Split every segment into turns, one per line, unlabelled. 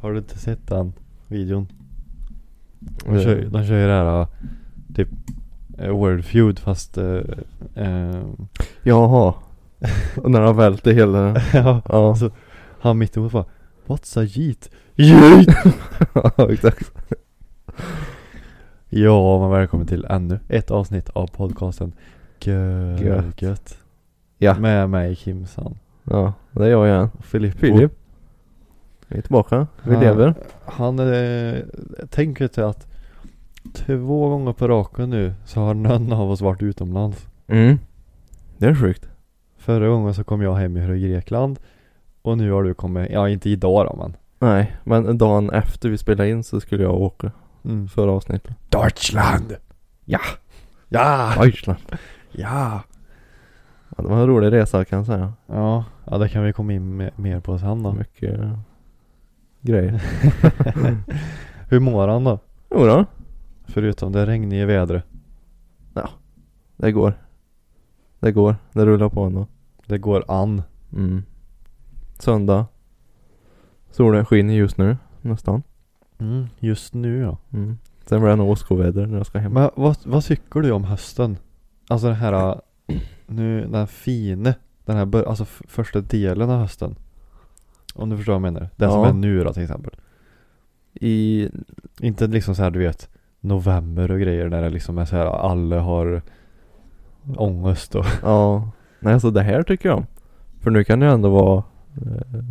Har du inte sett den videon? De kör, de kör ju det här typ eh, World Feud fast eh, eh,
Jaha. Och när han välter hela...
ja,
Ja,
Så- han mittemot bara What's a yeet? Yeet!
ja exakt.
ja, men välkommen till ännu ett avsnitt av podcasten Gött,
Gött.
gött.
Ja.
Med mig Kimsan
Ja, det är jag igen.
och Filippo
Filip. Vi är tillbaka. Vi
Ja.
lever.
Han eh, tänker till att två gånger på raken nu så har någon av oss varit utomlands.
Mm. Det är sjukt.
Förra gången så kom jag hem ifrån Grekland och nu har du kommit, ja inte idag då men.
Nej, men dagen efter vi spelade in så skulle jag åka. Förra avsnittet.
Deutschland!
Ja.
Ja!
Deutschland.
Ja!
Ja, det var en rolig resa kan jag säga.
Ja, ja det kan vi komma in med, mer på sen då.
Mycket eh, grejer.
Hur mår han då?
Jo då.
Förutom det regniga vädret.
Det går. Det går. Det rullar på ändå.
Det går an.
Mm. Söndag. Solen skiner just nu. Nästan.
Just nu ja.
Mm. Sen blir det nog åskoväder när jag ska hem.
Men vad, vad tycker du om hösten? Alltså den här, äh, nu den här fine, den här bör, alltså f- första delen av hösten. Om du förstår vad jag menar. Den som
Ja.
är nu då till exempel.
I...
Inte liksom så här du vet, november och grejer när det liksom är så här alla har ångest och
Ja. Nej alltså det här tycker jag om. För nu kan det ändå vara... Eh,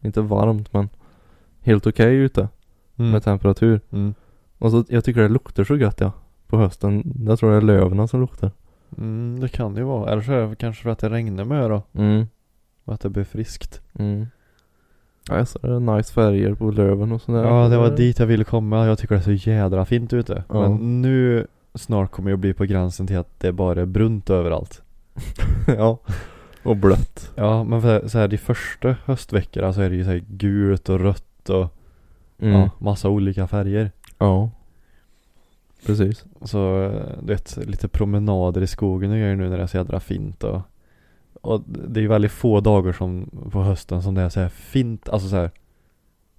inte varmt men helt okej ute med temperatur.
Mm.
Och så jag tycker det luktar så gött ja. På hösten. Jag tror det är löven som luktar.
Mm, det kan det ju vara. Eller så är det kanske för att det regnar med då.
Mm.
Och att det blir friskt.
Mm. Ja jag ser nice färger på löven och sådär.
Ja, det var dit jag ville komma. Jag tycker det är så jädra fint ute.
Ja.
Men nu snart kommer jag bli på gränsen till att det bara är brunt överallt.
ja. Och blött.
Ja, men för- så här de första höstveckorna så är det ju så här gult och rött och
Mm.
ja, massa olika färger.
Ja. Precis.
Så eh, du vet, lite promenader i skogen och grejer nu när det är så jädra fint och, och det är ju väldigt få dagar som på hösten som det är så här fint, alltså så här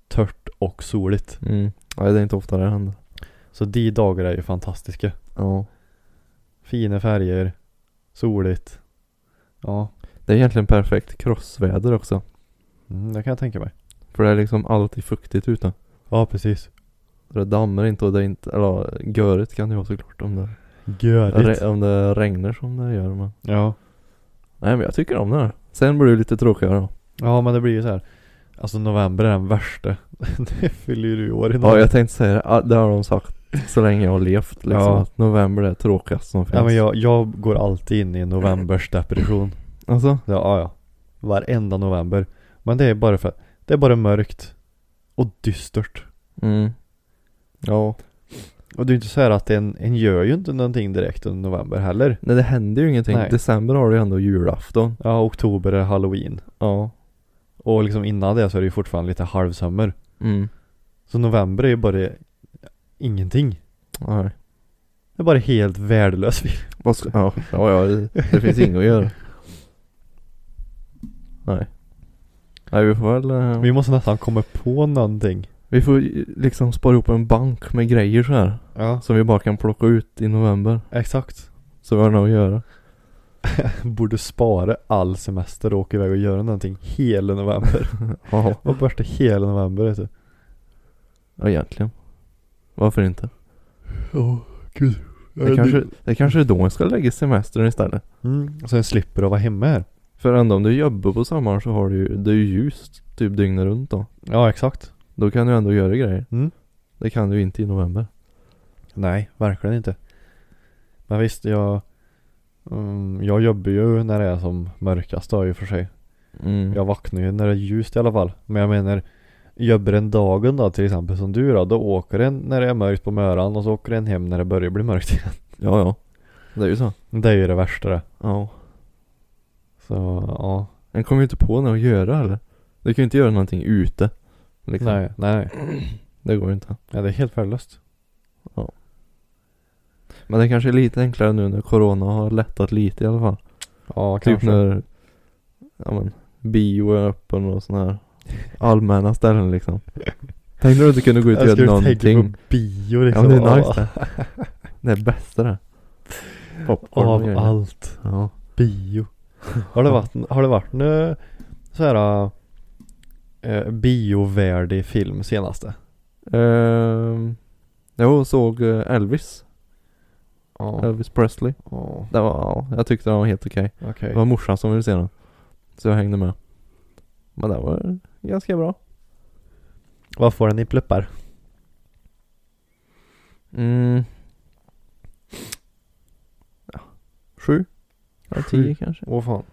tört och soligt.
Mm. Nej, det är inte ofta det händer.
Så de dagarna är ju fantastiska.
Ja.
Fina färger, soligt. Ja,
Det är egentligen perfekt krossväder också.
mm, det kan jag tänka mig.
För det är liksom alltid fuktigt ute.
Ja, precis.
Det dammar inte och det är inte, eller görigt kan det vara såklart om det,
Görigt.
re, om det regnar som det gör men.
Ja.
Nej men jag tycker om det här. Sen blir det lite tråkigare då.
ja, men det blir ju så här. Alltså november är den värsta. det fyller ju du år i
Ja
november.
jag tänkte säga det, Ah, det har de sagt så länge jag har levt liksom.
Ja.
Att november är tråkigast som finns.
ja, men jag, jag går alltid in i en novembers depression.
Alltså?
Ja, ja, ja. Varenda november. Men det är bara för att det är bara mörkt och dystert.
Mm. Ja.
Och det är ju inte så här att en, en gör ju inte någonting direkt under november heller.
Nej det händer ju ingenting.
Nej.
December har du ju ändå julafton.
Ja, oktober är halloween.
Ja.
Och liksom innan det så är det ju fortfarande lite halvsommar.
Mm.
Så november är ju bara ingenting.
Nej.
Det är bara helt värdelös.
Vad ska, ja, ja, ja det, det finns inget att göra. Nej. Nej vi får väl,
Vi
eh, vi,
måste nästan komma på någonting.
får ju liksom spara ihop en bank med grejer så här.
Ja.
Som vi bara kan plocka ut i november.
Exakt.
Så vi har något att göra.
Borde spara all semester och åka iväg och göra någonting hela november.
Jaha.
Och borta hela november vet du.
Ja egentligen. Varför inte?
Ja, gud.
Det kanske, det kanske är då jag ska lägga semestern istället.
Mm, så den slipper att vara hemma här.
För ändå om du jobbar på sommaren så har du ju, det är ju ljust typ dygnet runt då.
Ja, exakt.
Då kan du ändå göra grejer.
Mm.
Det kan du ju inte i november.
Nej, verkligen inte. Men visst, jag, mm, jag jobbar ju när det är som mörkast då i och för sig.
Mm.
Jag vaknar ju när det är ljust i alla fall. Men jag menar, jobbar en dagen då till exempel som du då, då åker en när det är mörkt på möran och så åker en hem när det börjar bli mörkt igen.
Ja, ja. Det är ju så.
Det är ju det värsta det.
Ja.
Så ja,
En kommer ju inte på något att göra eller? Du kan ju inte göra någonting ute. Liksom.
nej, nej, nej.
Det går ju inte.
Ja, det är helt värdelöst.
Men det kanske är lite enklare nu när corona har lättat lite i alla fall.
Ja,
Typ
kanske.
när, ja men, bio är öppen och sådana här allmänna ställen liksom. Tänk när du inte kunde gå ut och göra någonting.
på bio
Ja
liksom.
men det är nice det. Det är bästa det. Popcorn och
Av
grejer.
allt.
Ja.
Bio. Har det varit, har det varit nu så här eh, biovärdig film senaste?
Ehm, jo, såg eh, Elvis.
Ja.
Elvis Presley.
Ja,
Det var, ja, jag tyckte den var helt okej.
Okej.
Det var morsan som ville se den. Så jag hängde med. Men det var ganska bra.
Vad får den i pluppar?
Mm. Ja. Sju? Ja,
Sju.
tio kanske.
Åh fan.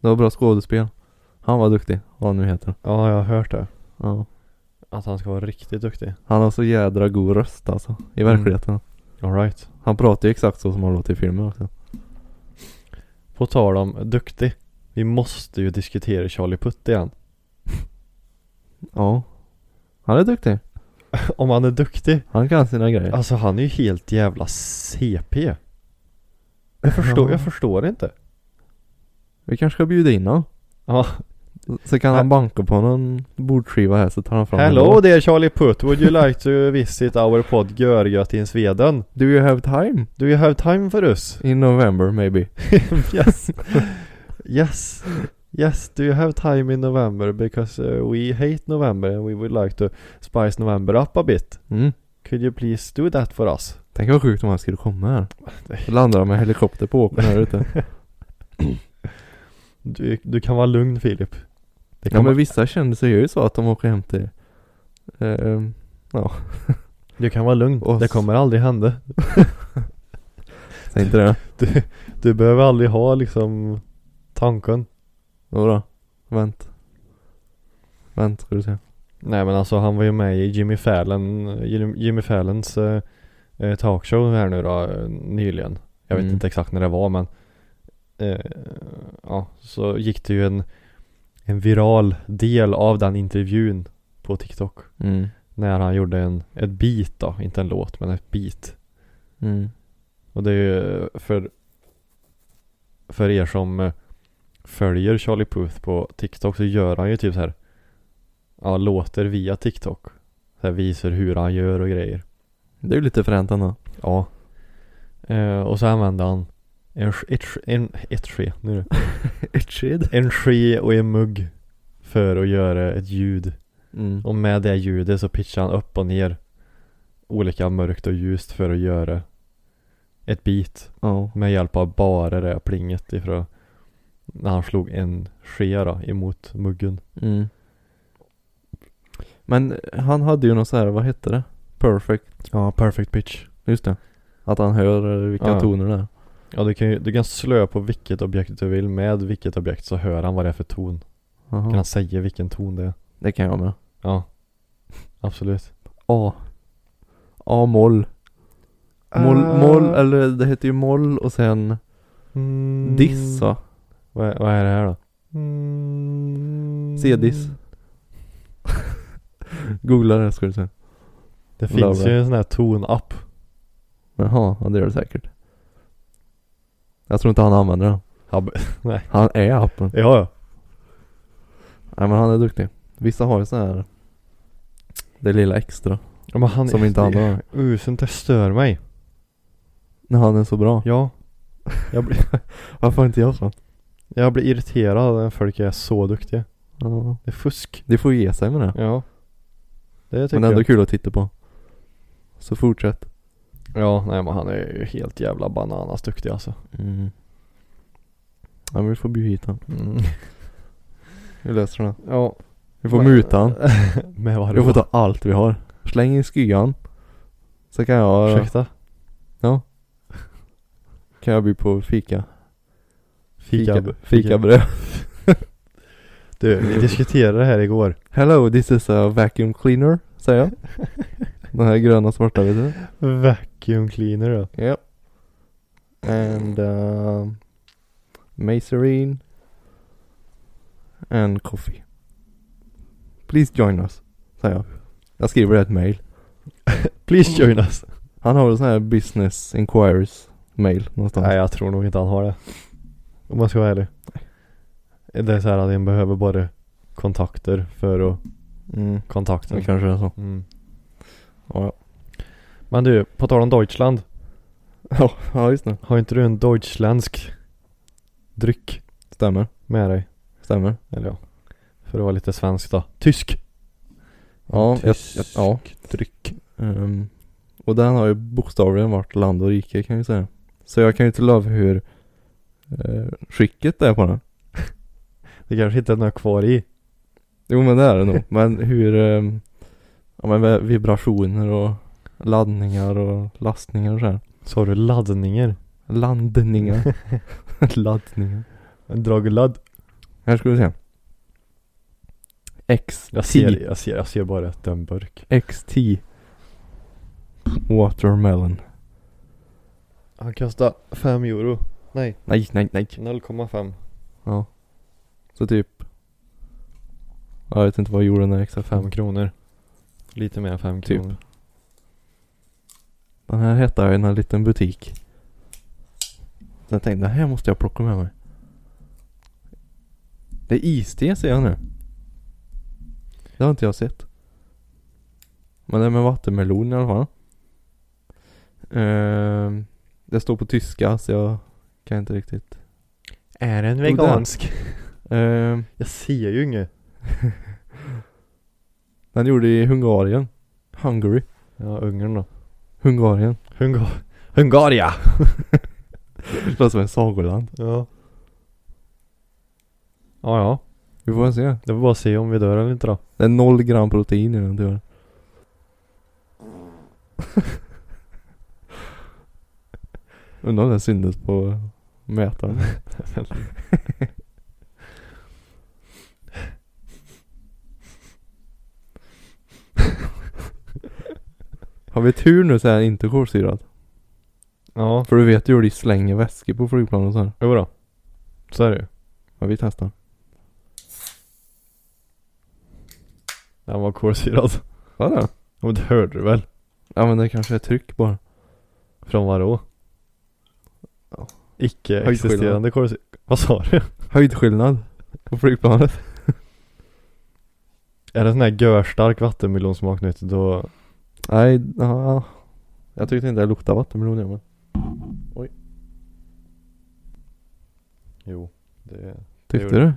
Det var bra skådespel. Han var duktig, vad han nu heter.
Ja, jag har hört det.
Ja.
Att han ska vara riktigt duktig.
Han har så jädra god röst alltså, i
Mm.
verkligheten.
Alright.
Han pratar ju exakt så som han låter i filmen också.
På tal om duktig. Vi måste ju diskutera Charlie Putt igen.
Ja. Han är duktig.
Om han är duktig.
Han kan sina grejer.
Alltså han är ju helt jävla CP. Jag förstår,
Ja.
jag förstår inte.
Vi kanske ska bjuda in honom.
Ja.
Så kan han banka på någon bordskiva här så tar han fram en
Hello
låt.
there Charlie Putt. Would you like to visit our pod Görgött in Sweden?
Do you have time?
Do you have time for us?
In November maybe.
yes. yes. Yes, do you have time in November? Because uh, we hate November and we would like to spice November up a bit.
Mm.
Could you please do that for us?
Tänk vad sjukt om han skulle komma här. Då landar han med helikopter på åkern här ute.
Du, du kan vara lugn Filip. Det kan
Ja men
vara,
vissa kändisar gör ju så att de åker hem till eh,
du kan vara lugn.
Oss.
Det kommer aldrig hända.
Säg inte det.
Du, du behöver aldrig ha liksom tanken.
Jodå. Vänt. Vänt ska du se.
Nej men alltså han var ju med i Jimmy Fallon, Jim- Jimmy Fallons eh, eh, talkshow här nu då eh, nyligen. Jag vet
Mm.
inte exakt när det var men eh, ja, så gick det ju en, en viral del av den intervjun på TikTok.
Mm.
När han gjorde en, ett beat då, inte en låt men ett beat.
Mm.
Och det är ju för För er som eh, Följer Charlie Puth på TikTok så gör han ju typ så här Ja, låter via TikTok så här Visar hur han gör och grejer
Det är ju lite fränt ändå.
Ja eh, Och så använder han en, sk- ett, sk- en, ett ske, nu är det.
Ett sked.
En ske och en mugg För att göra ett ljud
Mm.
Och med det ljudet så pitchar han upp och ner Olika mörkt och ljust för att göra Ett beat
Ja.
med hjälp av bara det plinget ifrån när han slog en ske då, emot muggen.
Mm. Men han hade ju något så här, vad hette det? Perfect.
Ja, perfect pitch.
Just det. Att han hör eh, vilka
Ja.
toner det är.
Ja, du kan, ju, du kan slö på vilket objekt du vill med vilket objekt så hör han vad det är för ton.
Jaha.
Kan han säga vilken ton det är?
Det kan jag med.
Ja, absolut.
A. A-moll. Moll, moll, eller det heter ju moll och sen
Mm.
diss va?
Vad, vad är det här då?
Mm. C-diss. Googla det ska du se.
Det
Lover.
finns ju en sån här tonapp.
Jaha, ja, det gör det säkert. Jag tror inte han använder den.
Hab-
Han är appen.
Ja, ja.
Nej men han är duktig. Vissa har ju så här. Det lilla extra.
Ja, Men han,
Som inte
det-
andra har.
Usen, det stör mig.
När han är så bra.
Ja. Jag blir,
Varför har inte jag sånt?
jag blir irriterad när folk är så duktiga.
Ja.
Det är fusk.
Det får ge sig med det.
Ja. Det tycker
men ändå
jag.
kul att titta på. Så fortsätt.
Ja, nej men han är ju helt jävla bananas duktig alltså.
Mm. Ja men vi får bjuda hit han. Vi löser det.
Ja.
Mm. Vi får muta han.
Med vad
Vi får ta allt vi har. Släng in skyan. Så kan jag,
Ursäkta?
kan jag bjuda på fika.
Fika,
Fikabröd.
Du, vi diskuterade det här igår.
Hello, this is a vacuum cleaner, säger jag. Den här gröna svarta vet du.
Vacuum cleaner då.
Yep. And uh, Macerine and coffee. Please join us, säger jag. Jag skriver ett mail.
Please join us.
Han har väl sån här business inquiries mail någonstans.
Nej jag tror nog inte han har det. Om man ska vara ärlig. Det är så här att han behöver bara kontakter för att
Mm,
kontakta.
det kanske är så.
Mm.
Ja, ja.
Men du, på tal om Deutschland.
Ja, ja just det.
Har inte du en deutschländsk dryck
Stämmer.
med dig?
Stämmer.
Eller ja. För att vara lite svensk då. Tysk.
Ja, jag,
Tysk
jag, ja.
dryck.
Ehm, och den har ju bokstavligen varit land och rike kan jag ju säga. Så jag kan ju inte lova hur eh, skicket är på den.
Det kanske inte är några kvar i.
Jo men det är det nog. Men hur, ehm, ja men vi- vibrationer och laddningar och lastningar och sådär.
Så har du laddningar.
Landningar. laddningar.
En dragladd.
Här ska vi se. X.
Jag ser, jag ser, jag ser bara att det är en burk.
XT. Watermelon.
Han kostar 5 euro. Nej,
Nej, nej, nej.
0,5.
Ja. Så typ. Jag vet inte vad jag gjorde den där extra fem.
Fem kronor. Lite mer än fem
Typ.
kronor.
Den här hittade jag i en liten butik. Så jag tänkte, det här måste jag plocka med mig. Det är iste ser jag nu. Det har inte jag sett. Men det är med vattenmelon i alla fall. Ehm, det står på tyska så jag kan inte riktigt.
Är den
vegansk? Ehm,
Jag ser ju inget.
den gjorde i Hungarien. Hungary.
Ja, Ungern då.
Hungarien.
Hungar Hungaria!
Det låter som en sagoland.
Ja. Ja, ja.
Vi får väl se.
Det var bara att se om vi dör eller inte då.
Det är noll gram protein i den tyvärr. Undrar om det syndes på mätaren. Har vi tur nu så är den inte kolsyrad.
Ja.
För du vet ju hur de slänger väskor på flygplan och så här.
Jo då. Så är det ju.
Ja, vi testar.
Den var kolsyrad.
Vad det?
Ja, men det hörde du väl?
Ja men det kanske är tryck bara.
Från vadå?
Ja.
Icke
Höjdskillnad.
existerande kolsyrad. Vad sa du?
Höjdskillnad på flygplanet.
Är det sån här görstark vattenmelonsmak nytt då...
Nej, ja. Jag tyckte inte det luktade vattenmelon jag men.
Jo. Det...
Tyckte
gjorde
du?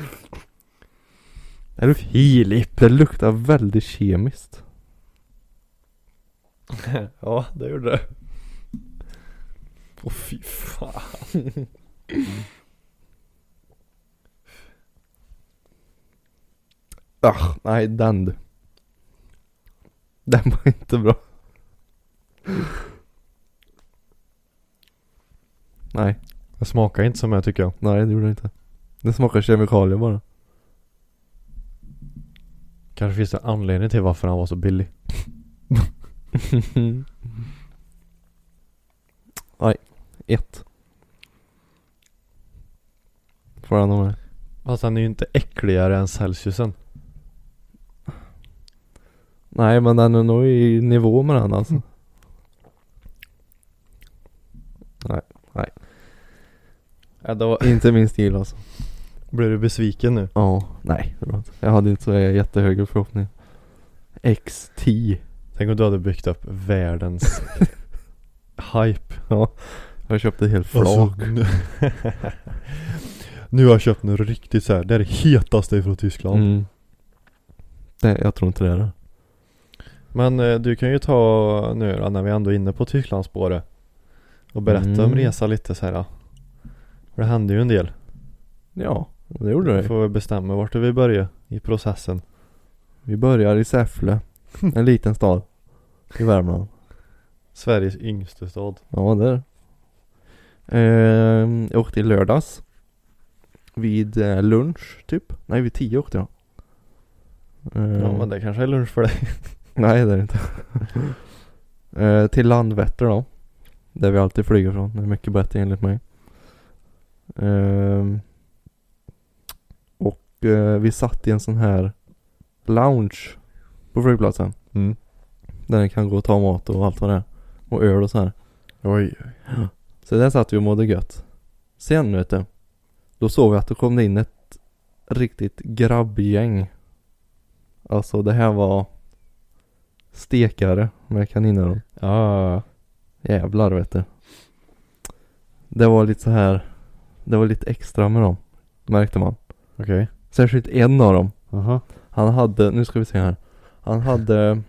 Är du Filip?
Det luktar väldigt kemiskt.
Ja, det gjorde det. Åh fy fan.
Ach, nej den du. Den var inte bra. nej,
Det smakar inte som jag tycker jag.
nej det gjorde det inte. Det smakar kemikalier bara.
Kanske finns det anledning till varför han var så billig. Mm.
nej, ett. Får han ha med.
Fast han är ju inte äckligare än Celsiusen.
Nej men den är nog i nivå med den
Mm.
alltså. Nej, nej.
Ja, då
Inte min stil alltså.
blir du besviken nu.
Ja, nej det var inte. Jag hade inte så jättehöga förhoppningar. X10.
Tänk om du hade byggt upp världens hype.
Jag köpte ett helt
Och så-
flak.
nu, nu har jag köpt något riktigt så här. Det är det hetaste från Tyskland.
Mm. Det, jag tror inte det är det.
Men eh, du kan ju ta nu då, när vi ändå är inne på Tysklandsspåret och berätta om
Mm.
resa lite så här. ja. För det hände ju en del.
Ja, det gjorde det.
Får vi bestämma vart vi börjar i processen.
Vi börjar i Säffle. En liten stad. I Värmland.
Sveriges yngste stad.
Ja, det är det. Ehm, jag åkte i lördags. Vid eh, lunch typ. Nej vid tio åkte jag. Ehm,
Ja men det kanske är lunch för dig.
Nej det är det inte. Eh, till Landvetter då. Där vi alltid flyger från. Det är mycket bättre enligt mig. Ehm, och eh, vi satt i en sån här lounge på flygplatsen.
Mm.
Där ni kan gå och ta mat och allt vad det är. Och öl och så här.
Oj.
Så där satt vi och mådde gött. Sen vet du. Då såg vi att det kom in ett riktigt grabbgäng. Alltså det här var stekare med kaninöron.
Ja.
Jävlar vet du. Det var lite så här. Det var lite extra med dem. Märkte man.
Okej.
Särskilt en av dem.
Aha.
Han hade, nu ska vi se här. Han hade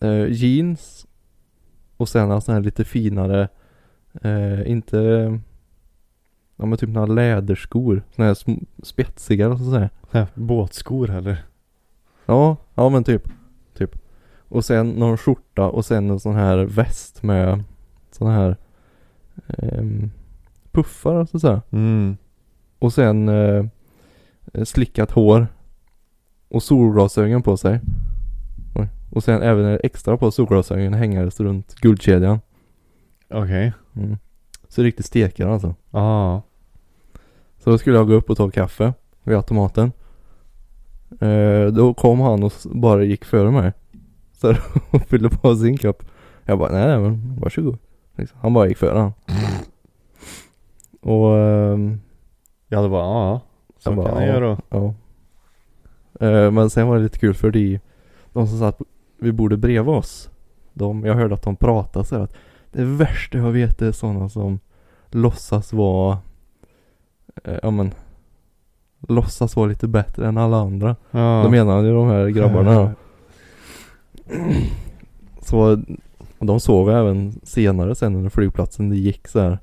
eh, jeans och sen en sån här lite finare, eh, inte, ja men typ några läderskor. Såna här sm- spetsiga eller så att säga.
Nej, Båtskor heller.
Ja, ja men typ. Typ. Och sen någon skjorta och sen en sån här väst med sån här ehm, puffar så att säga.
Mm.
Och sen eh, slickat hår. Och solglasögon på sig. Oj. Och sen även extra på solglasögon hängandes runt guldkedjan.
Okej.
Mm. Så riktigt stekare alltså.
Ja.
Så då skulle jag gå upp och ta kaffe vid automaten. Eh, då kom han och s- bara gick före mig. Så här, och fyllde på sin kopp. Jag bara, nej, nej men varsågod. Liksom. Han bara gick före han. Och ehm,
Jag hade bara ja. Så
Jag bara,
kan jag
ja.
göra.
Ja. Eh, men sen var det lite kul för de, de som satt vid bordet bredvid oss. De, jag hörde att de pratade så här att det värsta jag vet är sådana som låtsas vara, eh, ja men, låtsas vara lite bättre än alla andra.
Ja.
Då menar ju de här grabbarna då. Så de sov ju även senare sen under flygplatsen. Det gick så här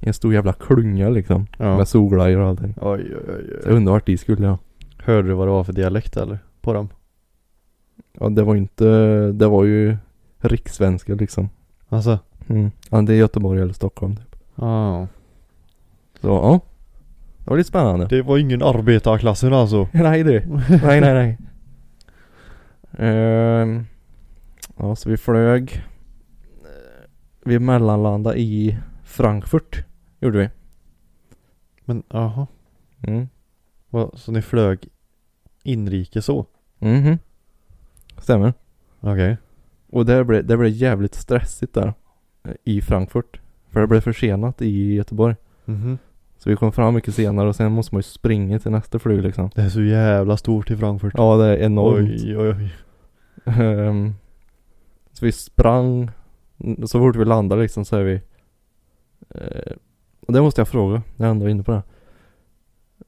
i en stor jävla klunga liksom.
Ja.
Med solglajjor och allting.
Oj, oj, oj,
Så jag
oj.
undrar vart de skulle ja.
Hörde du vad det var för dialekt eller? På dem?
Ja det var inte, det var ju rikssvenska liksom.
Alltså?
Mm. Ja, det är Göteborg eller Stockholm typ.
Ja.
Så ja. Det var lite spännande.
Det var ingen arbetarklassen alltså.
Nej du. Nej nej nej. Ehm, ja så vi flög. Eh, Vi mellanlandade i Frankfurt. Gjorde vi.
Men jaha.
Mm.
Vad, Så ni flög inrikes så?
Mhm. Stämmer.
Okej.
Och där blev, där blev det jävligt stressigt där. eh, I Frankfurt. För det blev försenat i Göteborg.
Mhm.
Så vi kom fram mycket senare och sen måste man ju springa till nästa flyg liksom.
Det är så jävla stort i Frankfurt.
Ja det är enormt.
Oj, oj, oj.
Ehm, så vi sprang. Mm, Så fort vi landade liksom så är vi. eh, och det måste jag fråga när jag ändå är inne på det. här.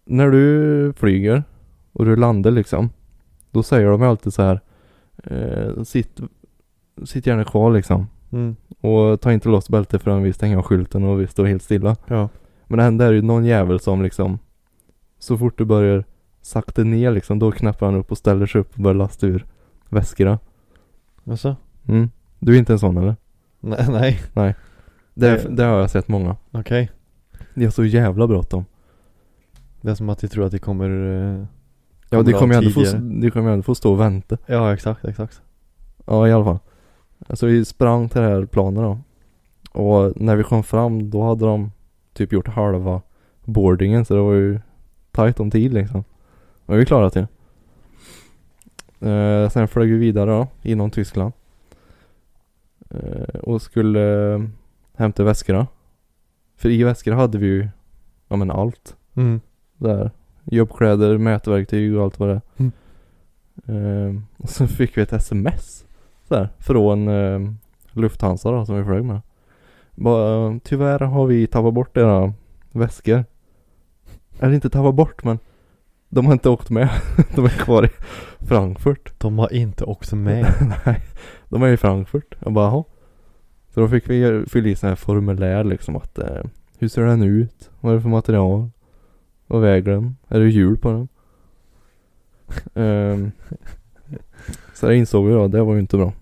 När du flyger och du landar liksom. Då säger de ju alltid så här. eh, sitt, sitt gärna kvar liksom.
Mm.
Och ta inte loss bältet förrän vi stänger av skylten och vi står helt stilla.
Ja.
Men det enda är ju någon jävel som liksom Så fort du börjar sakta ner liksom då knappar han upp och ställer sig upp och börjar lasta ur väskorna.
Alltså?
Mm. Du är inte en sån eller?
Nej, nej.
Det,
Nej.
det har jag sett många.
Okej.
Det är så jävla bråttom.
Det är som att de tror att de kommer... eh,
Ja
Kommer
du
de
kommer ju ändå få,
tidigare?
du kommer ju ändå få stå och vänta.
Ja, exakt, exakt.
Ja i alla fall. Alltså vi sprang till det här planet då. Och när vi kom fram då hade de typ gjort halva boardingen så det var ju tajt om tid liksom. Men vi klarade till. Eh, sen flög vi vidare då inom Tyskland. Eh, och skulle eh, hämta väskorna. För i väskorna hade vi ju, ja men allt
Mm.
där. Jobbkläder, mätverktyg och allt vad det är.
Mm.
Ehm, och sen fick vi ett sms där, från um, Lufthansa då, som vi flög med. Bara, ehm, tyvärr har vi tappat bort era väskor. Eller inte tappat bort men de har inte åkt med. de är kvar i Frankfurt.
De har inte åkt med.
Nej, de är i Frankfurt. Jag bara, "Jaha." Så då fick vi göra- fylla i sådana här formulär liksom att eh, hur ser den ut? Vad är det för material? Vad väger den? Är det hjul på den? Ehm, så det insåg vi då, det var ju inte bra.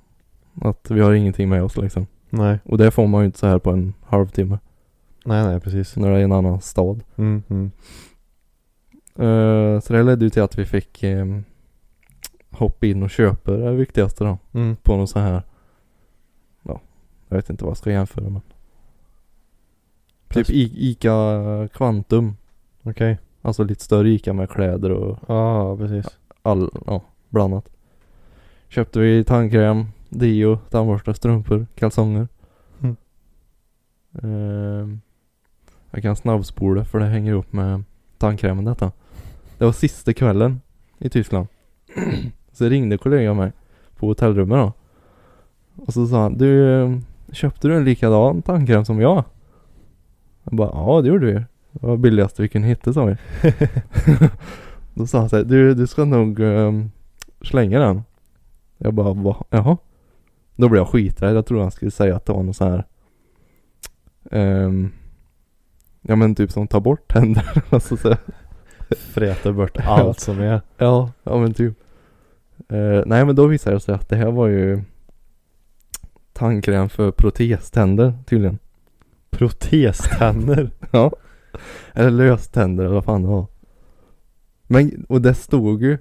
Att vi har ingenting med oss liksom.
nej.
Och det får man ju inte så här på en halvtimme.
Nej nej precis.
när det är en annan stad.
Mm, mm.
Eh, så det ledde ju till att vi fick ehm, hoppa in och köpa det viktigaste då.
Mm.
På någon sån här, ja, jag vet inte vad jag ska jämföra med. Typ
Press-
I- Ica Quantum.
Okej.
Alltså lite större Ica med kläder och
Ja precis.
all, ja, blandat. Köpte vi tandkräm, deo, tandborste, strumpor, kalsonger.
Mm.
Ehm, jag kan snabbspola för det hänger ihop med tandkrämen detta. Det var sista kvällen i Tyskland. så ringde kollegan mig på hotellrummet då. Och så sa han, du eh, köpte du en likadan tandkräm som jag? Jag bara, ja det gjorde vi. Det var billigaste vi kunde hitta sa vi. Då sa han så här, du, du ska nog ehm, slänga den. Jag bara, va? Jaha? Då blev jag skiträdd. Jag trodde han skulle säga att det var någon sån här ehm, Ja men typ som tar bort tänder. alltså, så, här.
Fräter bort allt som är.
ja, ja men typ. Eh, nej men då visade det sig att det här var ju tandkräm för proteständer tydligen.
Proteständer.
Ja. Eller löständer eller vad fan det var. Men, och det stod ju.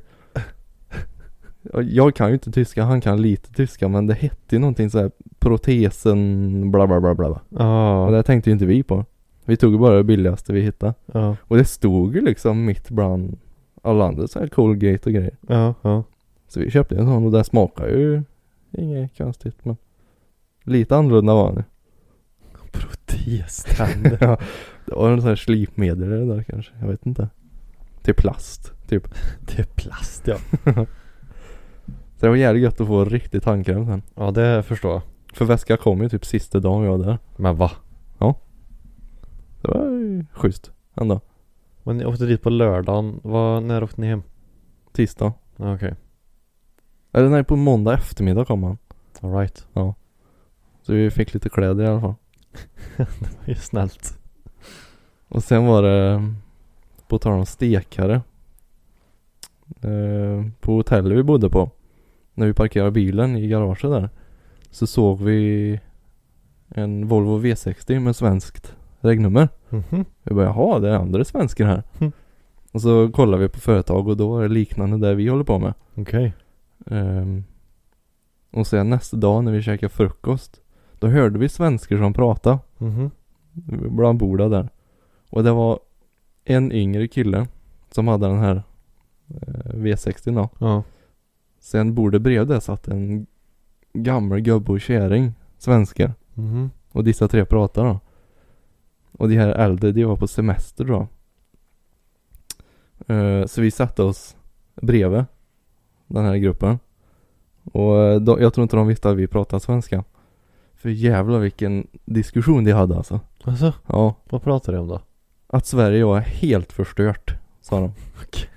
Ja, Jag kan ju inte tyska, han kan lite tyska men det hette ju någonting så här protesen bla bla bla bla. bla.
Ja.
Och det tänkte ju inte vi på. Vi tog ju bara det billigaste vi hittade.
Ja.
Och det stod ju liksom mitt bland alla andra så här Colgate och grejer.
Ja. Ja.
Så vi köpte en sån och det smakar ju inget konstigt men lite annorlunda var den
Proteständer.
ja, det var en sån här slipmedel i det där kanske, jag vet inte. Till plast, typ.
Det är plast ja.
Så det var jävligt gött att få riktig tandkräm sen.
Ja det förstår jag.
För väskan kom ju typ sista dagen vi var där.
Men va?
Det var ju schysst ändå.
Men ni åkte dit på lördagen. Vad, när åkte ni hem?
Tisdag.
Ja, Okej.
Eller nej, på måndag eftermiddag kom han.
Alright.
Så vi fick lite kläder i alla fall.
Det är snällt.
Och sen var det, på tal om stekare. Eh, på hotellet vi bodde på. När vi parkerade bilen i garaget där. Så såg vi en Volvo V60 med svenskt regnummer.
Mhm.
Vi bara jaha, det är andra svenskar här.
Mm.
Och så kollar vi på företag och då är det liknande det vi håller på med.
Okej.
Ehm, och sen nästa dag när vi käkade frukost. Då hörde vi svenskar som pratade.
Mhm.
Bland borda där. Och det var en yngre kille. Som hade den här eh, V60 då.
Ja.
Sen bordet bredvid det satt en gammal gubbe och kärring. Svenskar.
Mhm.
Och dessa tre pratade då. Och de här äldre, de var på semester då. Eh, så vi satte oss bredvid den här gruppen. Och eh, de, jag tror inte de visste att vi pratade svenska. För jävla vilken diskussion de hade alltså.
Alltså,
Ja.
vad pratar du om då?
Att Sverige var helt förstört, sa de.
Okej.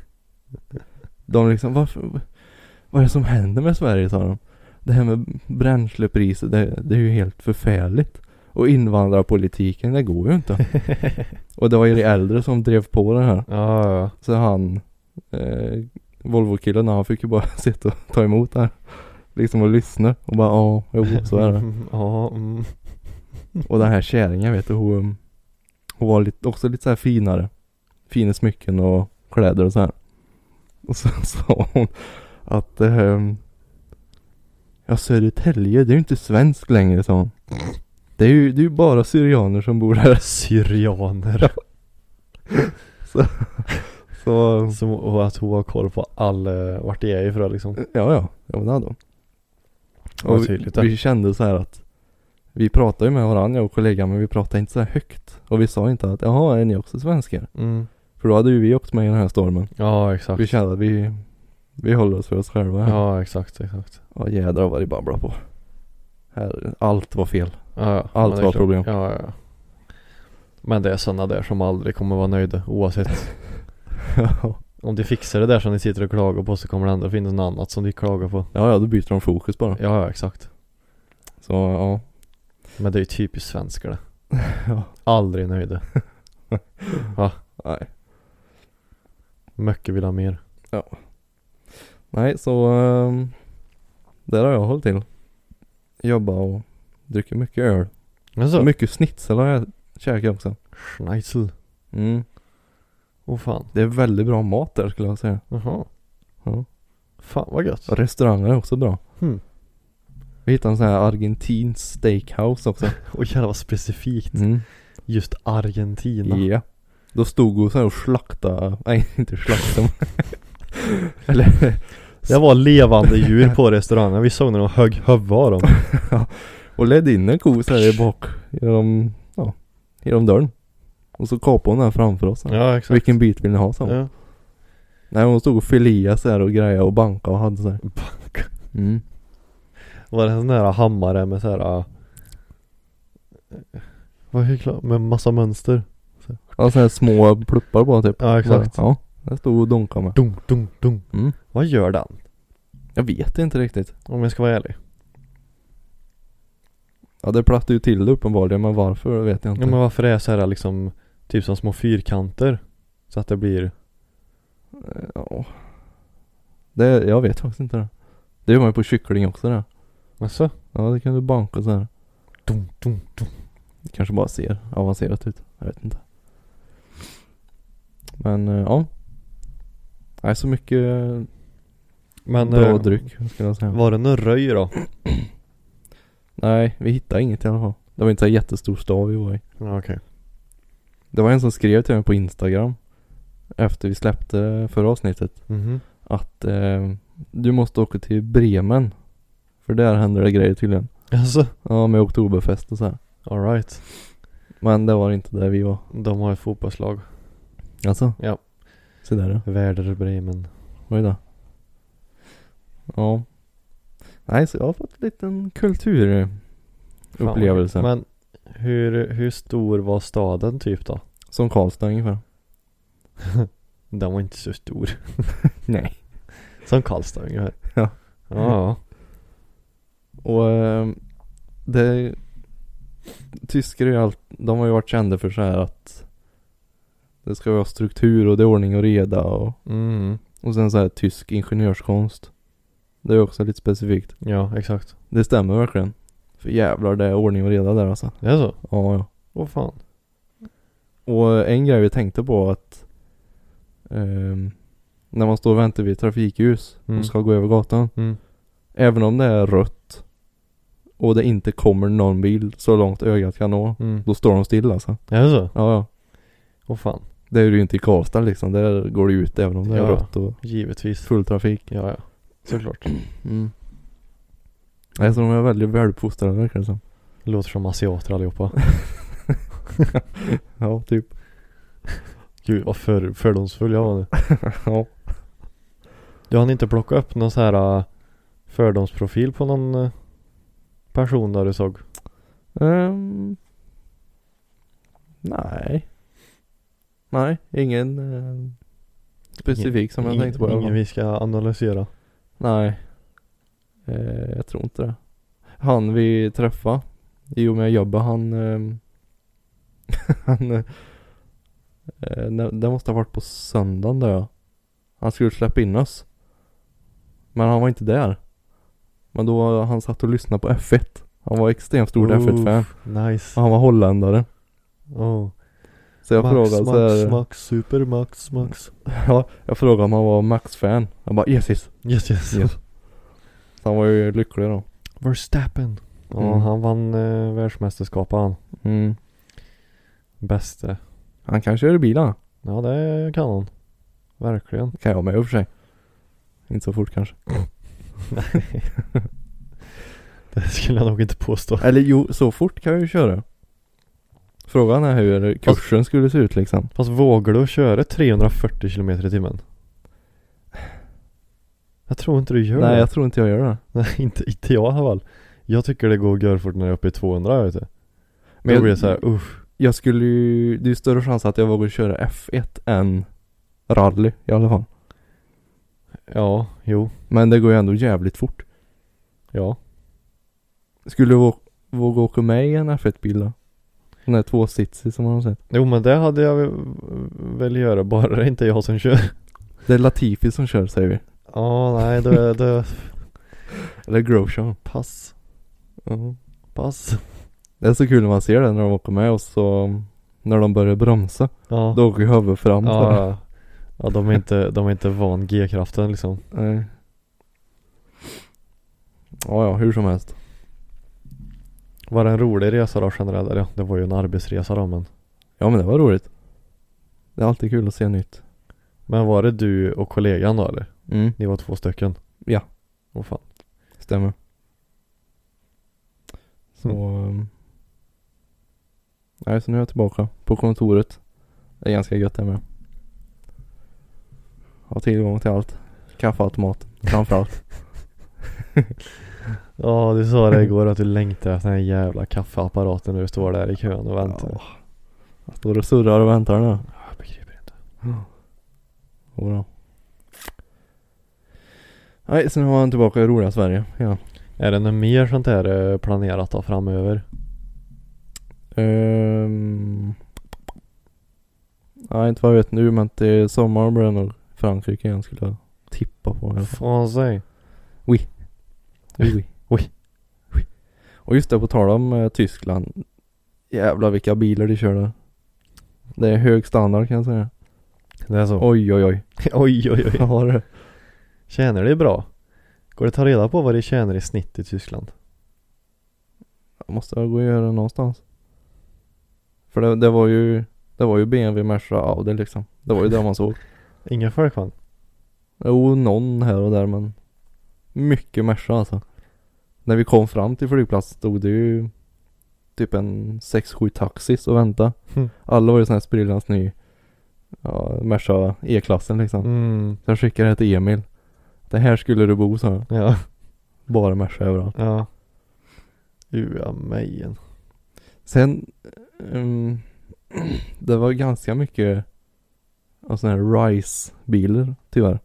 De liksom, varför, vad är det som händer med Sverige, sa de. Det här med bränslepriser, det, det är ju helt förfärligt. Och invandrarpolitiken, det går ju inte. Och det var ju de äldre som drev på det här.
Ja, ja, ja.
Så han, eh, Volvo-killen, han fick ju bara sitta och ta emot det här. Liksom och lyssna och bara ja, jo så är det.
Mm, Ja, mm.
Och den här kärringen vet du, hon, hon var lite, också lite så här finare. Fina smycken och kläder och så här. Och så sa hon att ehm, Ja Södertälje, det är ju inte svenskt längre sa hon. Det är ju, det är ju bara syrianer som bor här.
Syrianer.
Så
Som, och att hon har koll på all, eh, vart det är ifrån liksom.
Ja, ja. Jo, det hade hon.
Vad
Och vi,
tydligt, ja.
vi kände så här att vi pratade ju med varandra, jag och kollegan, men vi pratade inte så här högt. Och vi sa inte att jaha, är ni också svenskar?
Mm.
För då hade ju vi åkt med i den här stormen.
Ja, exakt.
Vi kände att vi, vi håller oss för oss själva. här.
Ja, exakt, exakt.
Ja jädrar vad det babblar på. Här, allt var fel.
Ja, ja.
Allt
Men det är
var
klart.
problem.
Ja, ja, ja. Men det är sådana där som aldrig kommer vara nöjda oavsett.
ja,
Om de fixar det där som ni sitter och klagar på så kommer det ändå finnas något annat som de klagar på.
ja, då byter de fokus bara.
Ja, ja, exakt.
Så ja.
Men det är ju typiskt svenskar det.
Ja.
Aldrig nöjda.
Nej.
Mycket vill ha mer.
Nej, så ehm, där har jag hållit till. Jobba och dricka mycket öl.
Men så,
Mycket snitsel har jag käkade jag också.
Schneitzel.
Mm.
Åh fan.
Det är väldigt bra mat där skulle jag säga.
Jaha.
Ja.
Fan vad gött.
Och Restauranger är också bra.
Hmm.
Vi hittade en sån här argentinsk steakhouse också.
Och jävlar vad specifikt.
Mm.
Just Argentina.
Ja. Då stod hon så här och slaktade, nej inte slaktade men- Eller,
Det var levande djur på restaurangen. Vi såg när de högg huvudet av dem.
och ledde in en ko så här i bak, genom, ja, genom dörren. Och så kapade hon den här framför oss.
Ja exakt.
Vilken bit vill ni ha? sa hon.
Ja.
Nej hon stod och filia så här och grejade och bankade och hade så här. Mm.
Var det en sån här hammare med så här. äh, Vad är klart? Med massa mönster.
Ja så här små pluppar bara typ.
Ja exakt.
Ja, den stod och dunkade med.
Dunk, dunk, dunk.
Mm.
Vad gör den?
Jag vet inte riktigt.
Om jag ska vara ärlig.
Ja det plattade ju till det uppenbarligen men varför vet jag inte.
Ja, men varför är så här liksom typ som små fyrkanter? Så att det blir
Eh, Ja. Det, jag vet faktiskt inte det. Det gör man ju på kyckling också det.
Jaså?
Ja det kan du banka så här.
Dum, dum, dum.
Det kanske bara ser avancerat ut. Jag vet inte. Men eh, ja. Nej så mycket eh,
Men
bra
eh,
dryck skulle jag säga.
var det någon röj då?
Nej vi hittade inget i alla fall. Det var inte en jättestor stad vi var i.
Ja okej.
Det var en som skrev till mig på Instagram. Efter vi släppte förra avsnittet.
Mhm.
Att eh, du måste åka till Bremen. För där händer det grejer tydligen.
Jaså?
Ja med Oktoberfest och så här.
Alright.
Men det var inte där vi var.
De har ett fotbollslag.
Alltså?
Ja.
Se där ja.
Werder Bremen.
Oj då. Ja. Nej, så jag har fått en liten kulturupplevelse.
Fan, vad kul. Men hur, hur stor var staden typ då?
Som Karlstad ungefär.
Den var inte så stor.
Nej.
Som Karlstad ungefär.
Ja.
Ja.
Och ehm, det... Tyskar är ju allt... De har ju varit kända för så här att det ska vara struktur och det är ordning och reda och,
Mm.
och sen så här tysk ingenjörskonst. Det är ju också lite specifikt.
Ja, exakt.
Det stämmer verkligen. För jävlar det är ordning och reda där alltså.
Det är så?
Ja, ja.
Åh fan.
Och en grej vi tänkte på var att ehm, när man står och väntar vid ett trafikljus
Mm.
och ska gå över gatan.
Mm.
Även om det är rött och det inte kommer någon bil så långt ögat kan nå.
Mm.
Då står de still alltså.
Är det så?
Ja, ja.
Åh fan.
Det är det ju inte i Karlstad liksom. Där går det ut även om det är
Ja.
rött och
Givetvis.
full trafik.
Ja, ja. Såklart.
Mm. Nej, så de är väldigt väluppfostrade verkar det som.
Låter som asiater allihopa.
Ja, typ.
Gud vad för, fördomsfull jag var nu.
ja.
Du hann inte plocka upp någon så här äh, fördomsprofil på någon äh, person där du såg?
Ehm, nej. Nej, ingen eh, specifik som jag
Ingen-
tänkte på. i alla
Ingen
fall.
vi ska analysera.
Nej. Eh, jag tror inte det. Han vi träffade i och med jobbet, han... ehm, han eh, eh, det det måste ha varit på söndagen där ja. Han skulle släppa in oss. Men han var inte där. Men då han satt och lyssnade på F1. Han var extremt stort
Oof.
F1-fan.
Nice.
Och han var holländare.
Oh.
Så jag
Max,
frågade så
Max,
här,
Max, super Max, Max.
ja, Jag frågade om han var Max-fan. Han bara Jesus.
Yes, yes.
Yes. Så han var ju lycklig då.
Verstappen. Ja,
Mm.
han vann eh, världsmästerskapet han.
Mm.
Bäste.
Han kan köra bil han.
Ja, det kan han. Verkligen.
Det kan jag med i och för sig. Inte så fort kanske.
Det skulle jag nog inte påstå.
Eller jo, så fort kan jag ju köra. Frågan är hur kursen skulle se ut liksom.
Fast vågar du köra 340 km i timmen? Jag tror inte du gör
Nej,
det.
jag tror inte jag gör det.
Nej, inte, inte jag i alla fall. Jag tycker det går görfort när jag är uppe i 200 vet du. Men då
jag,
blir det så här, usch.
jag skulle ju, det är ju större chans att jag vågar köra F1 än rally i alla fall.
Ja, jo,
Men det går ju ändå jävligt fort.
ja.
Skulle du vå- våga åka med i en F1-bil då? Den där tvåsitsig som man har sett.
Jo men det hade jag väl- väl göra, bara det är inte jag som kör.
Det är Latifi som kör säger vi.
Ja, nej då är det
Eller Grosjean.
pass,
Ja.
pass.
Det är så kul när man ser det när de åker med och så när de börjar bromsa.
Ja.
Då åker ju huvudet fram.
ja, ja. ja de, är inte, de är inte van G-kraften liksom.
Nej. Ja, ja, hur som helst.
Var det en rolig resa då generellt? Eller Ja, det var ju en arbetsresa då men.
Ja, men det var roligt. Det är alltid kul att se nytt.
Men var det du och kollegan då eller?
Mm.
Ni var två stycken?
Ja.
Åh fan.
Stämmer. Så...
Mm.
ehm, Nej, så nu är jag tillbaka på kontoret. Det är ganska gött det med. Har tillgång till allt. Kaffeautomat framförallt.
Ja du sa det igår att du längtade efter den här jävla kaffeapparaten när du står där i kön och väntar.
Ja. Jag står och surrar och väntar nu.
Jag begriper inte.
Och bra. Nej, så nu var han tillbaka i roliga Sverige igen.
Är det något mer sånt här eh, planerat då framöver?
Ehm... Nej, inte vad jag vet nu men till sommaren blir det nog Frankrike igen skulle jag tippa på i alla fall.
Fransig.
Oj, oj, oj. oj. Och just det, på tal om eh, Tyskland. Jävlar vilka bilar de kör där. Det är hög standard kan jag säga.
Det är så.
Oj, oj, oj.
oj oj oj.
Ja, det.
Tjänar det bra? Går det att ta reda på vad det tjänar i snitt i Tyskland?
Jag måste gå och göra det någonstans. För det, det var ju, det var ju BMW, Merca, Audi liksom. Det var ju det man såg.
Inga folkvagn?
Jo, någon här och där men mycket Merca alltså. När vi kom fram till flygplatsen stod det ju typ en 6-7 taxis och väntade.
Mm.
Alla var ju sån här sprillans ny ja, Merca E-klassen liksom.
Mm.
Så jag skickade det till Emil. Det här skulle du bo så
Ja.
Bara Merca överallt.
Ja. Ua mejen.
Sen, ehm, det var ganska mycket av såna här RISE-bilar tyvärr.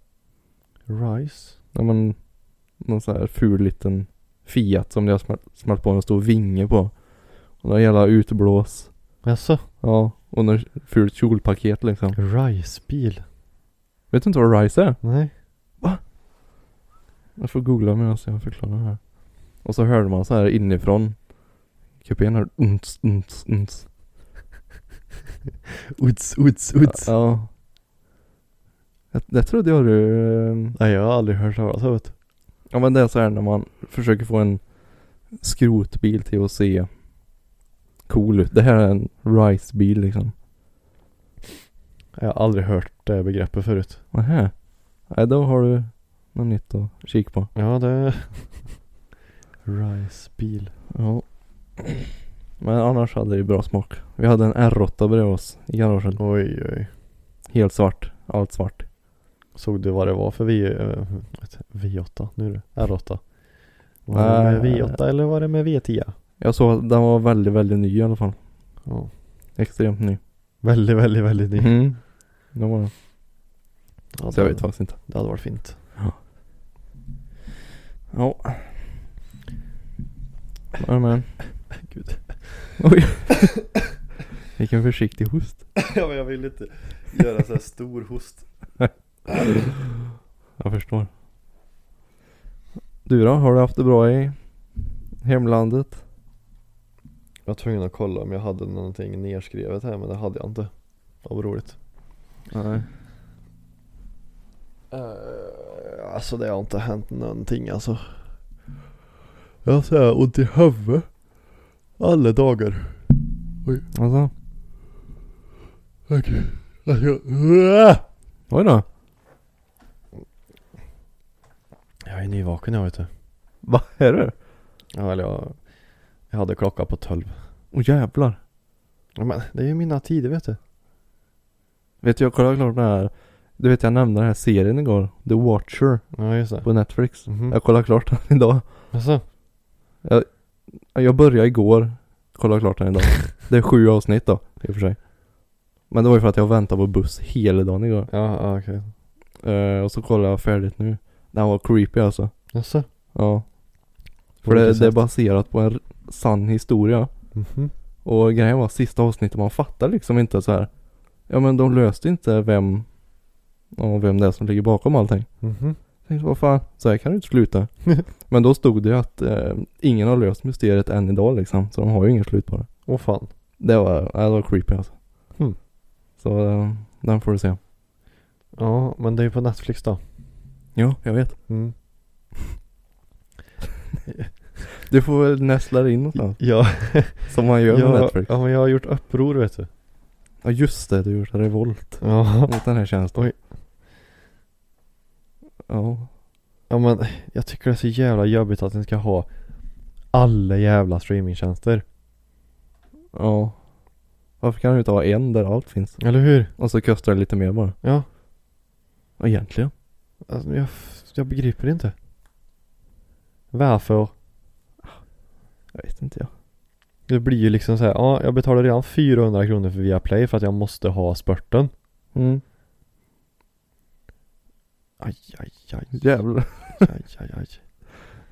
Rice?
Ja men Någon sån här ful liten Fiat som det har smält, smält på en stor vinge på. Och några jävla utblås.
Jaså?
Ja. Och något fult kjolpaket liksom.
Ricebil?
Vet du inte vad RISE är?
Nej.
Jag får googla medan jag förklarar det här. Och så hörde man så här inifrån. Kupén hörde unts, unts, unts.
Uts, uts, uts.
Ja. Det, det trodde jag du... eh,
Nej jag har aldrig hört talas om det.
Ja men det är så här när man försöker få en skrotbil till att se cool ut. Det här är en RISE-bil liksom.
Jag har aldrig hört det begreppet förut.
Nähä. Nej, då har du något nytt att kika på.
Ja det... Ricebil.
Ja. Men annars hade det ju bra smak. Vi hade en R8 bredvid oss i garaget.
Oj oj.
Helt svart. Allt svart.
Såg du vad det var för V... eh, V8 nu du. R8. Var det med
Nej.
V8 eller var det med V10?
Jag såg att den var väldigt, väldigt ny i alla fall.
Ja.
Extremt ny.
Väldigt, väldigt, väldigt ny.
Mm. Det var den.
Ja,
Så jag
det-
vet faktiskt inte.
Det hade varit fint.
Ja. Amen.
Gud.
Oj. Vilken försiktig host.
ja men jag vill inte göra så här stor host.
Jag förstår. Du då? Har du haft det bra i hemlandet?
Jag var tvungen att kolla om jag hade någonting nerskrivet här men det hade jag inte. Vad roligt.
Nej.
Uh, alltså det har inte hänt någonting alltså. Jag har så här ont i huvudet. Alla dagar.
Alltså?
Okej. Alltså, jag-
Oj då.
Jag är nyvaken jag vet du.
Vad är det?
Ja eller jag, jag hade klocka på 12.
Åh jävlar.
Ja, men det är ju mina tider vet du.
Vet du, jag kollade klart den här. Du vet jag nämnde den här serien igår. The Watcher
Ja just det.
på Netflix.
Mhm.
Jag kollade klart den idag.
Alltså,
Jag började igår. Kollade klart den idag. Det är sju avsnitt då. I och för sig. Men det var ju för att jag väntade på buss hela dagen igår.
ja ja, okej.
Eh, och så kollade jag färdigt nu. Den var creepy alltså.
Jaså?
Ja.
På
För det,
vilket
det är
sätt?
baserat på en r- sann historia.
Mhm.
Och grejen var sista avsnittet man fattar liksom inte så här. Ja men de löste inte vem, ja, vem det är som ligger bakom allting.
Mhm.
Jag tänkte vad fan, så här kan det inte sluta. men då stod det ju att eh, ingen har löst mysteriet än idag liksom. Så de har ju inget slut på det.
Åh fan.
Det var, ja, det var creepy alltså. Så eh, den får du se.
Ja, men det är ju på Netflix då.
Ja, jag vet.
Mm.
Du får väl nästla dig in någonstans.
Ja,
Som man gör med
jag,
Netflix.
ja, men jag har gjort uppror vet du.
Ja just det, du gjorde revolt
Ja.
mot den här tjänsten.
Oj.
Ja.
ja, men jag tycker det är så jävla jobbigt att den ska ha alla jävla streamingtjänster.
Ja. Varför kan du inte ha en där allt finns?
Eller hur?
Och så kostar det lite mer bara.
Ja.
Ja, egentligen.
Alltså, jag, jag begriper inte. Varför?
Jag vet inte jag.
Det blir ju liksom så här, ja jag betalar redan 400 kronor för Viaplay för att jag måste ha spurten.
Mm.
Aj, aj, aj,
Jävlar.
aj, aj, aj.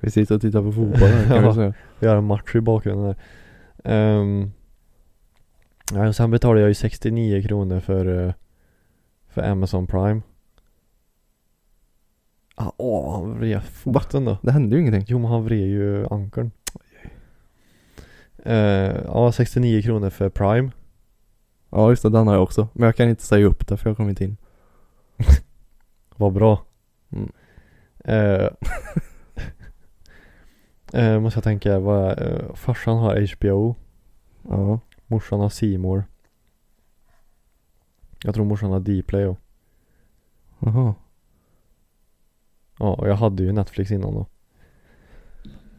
Vi sitter och tittar på fotboll här kan
Ja.
vi säga.
Vi har en match i bakgrunden där. Ehm, ja, och sen betalade jag ju 69 kronor för, eh, för Amazon Prime. Ah, åh, han vred foten då.
Det hände ju ingenting.
Jo, men han vred ju ankern. Eh, ja, 69 kronor för Prime.
Ja just det, den har jag också. Men jag kan inte säga upp det för jag kom inte in.
Vad bra.
Mm.
Eh, eh, måste jag tänka, vad, eh, farsan har HBO,
Ja.
morsan har C More. Jag tror morsan har Dplay och,
Jaha.
ja, och jag hade ju Netflix innan då.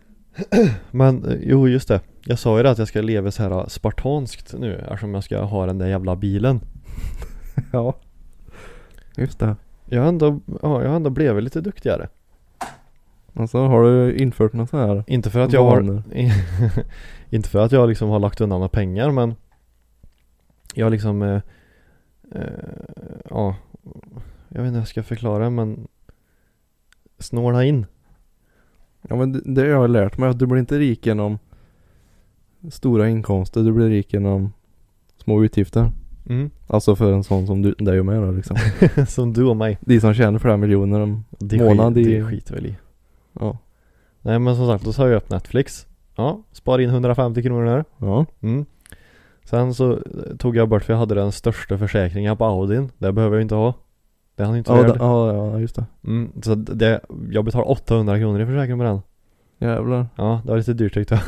Men eh, jo just det, jag sa ju det att jag ska leva så här eh, spartanskt nu eftersom jag ska ha den där jävla bilen.
Ja. Just det.
Jag har ändå, ja, jag har ändå blivit lite duktigare.
Alltså har du infört något så här?
Inte för att jag har
Vanor.
Inte för att jag liksom har lagt undan några pengar men Jag har liksom eh, eh, Ja Jag vet inte hur jag ska förklara men Snåla in
Ja men det, det har jag lärt mig att du blir inte rik genom stora inkomster. Du blir rik genom små utgifter.
mm.
Alltså för en sån som du, dig och mig då liksom.
Som du och mig
De som tjänar flera miljoner om,
det
Månad
skit,
i-
Det skiter väl i
ja.
Nej men som sagt då sa jag upp Netflix Ja, spar in 150 kronor där
Ja.
mm. Sen så eh, tog jag bort för jag hade den största försäkringen på Audin Det behöver jag inte ha Det är han inte
Ja,
värd
det, ja, ja, just det.
mm, Så det, jag betalar 800 kronor i försäkring på den
Jävlar.
Ja, det var lite dyrt tyckte jag.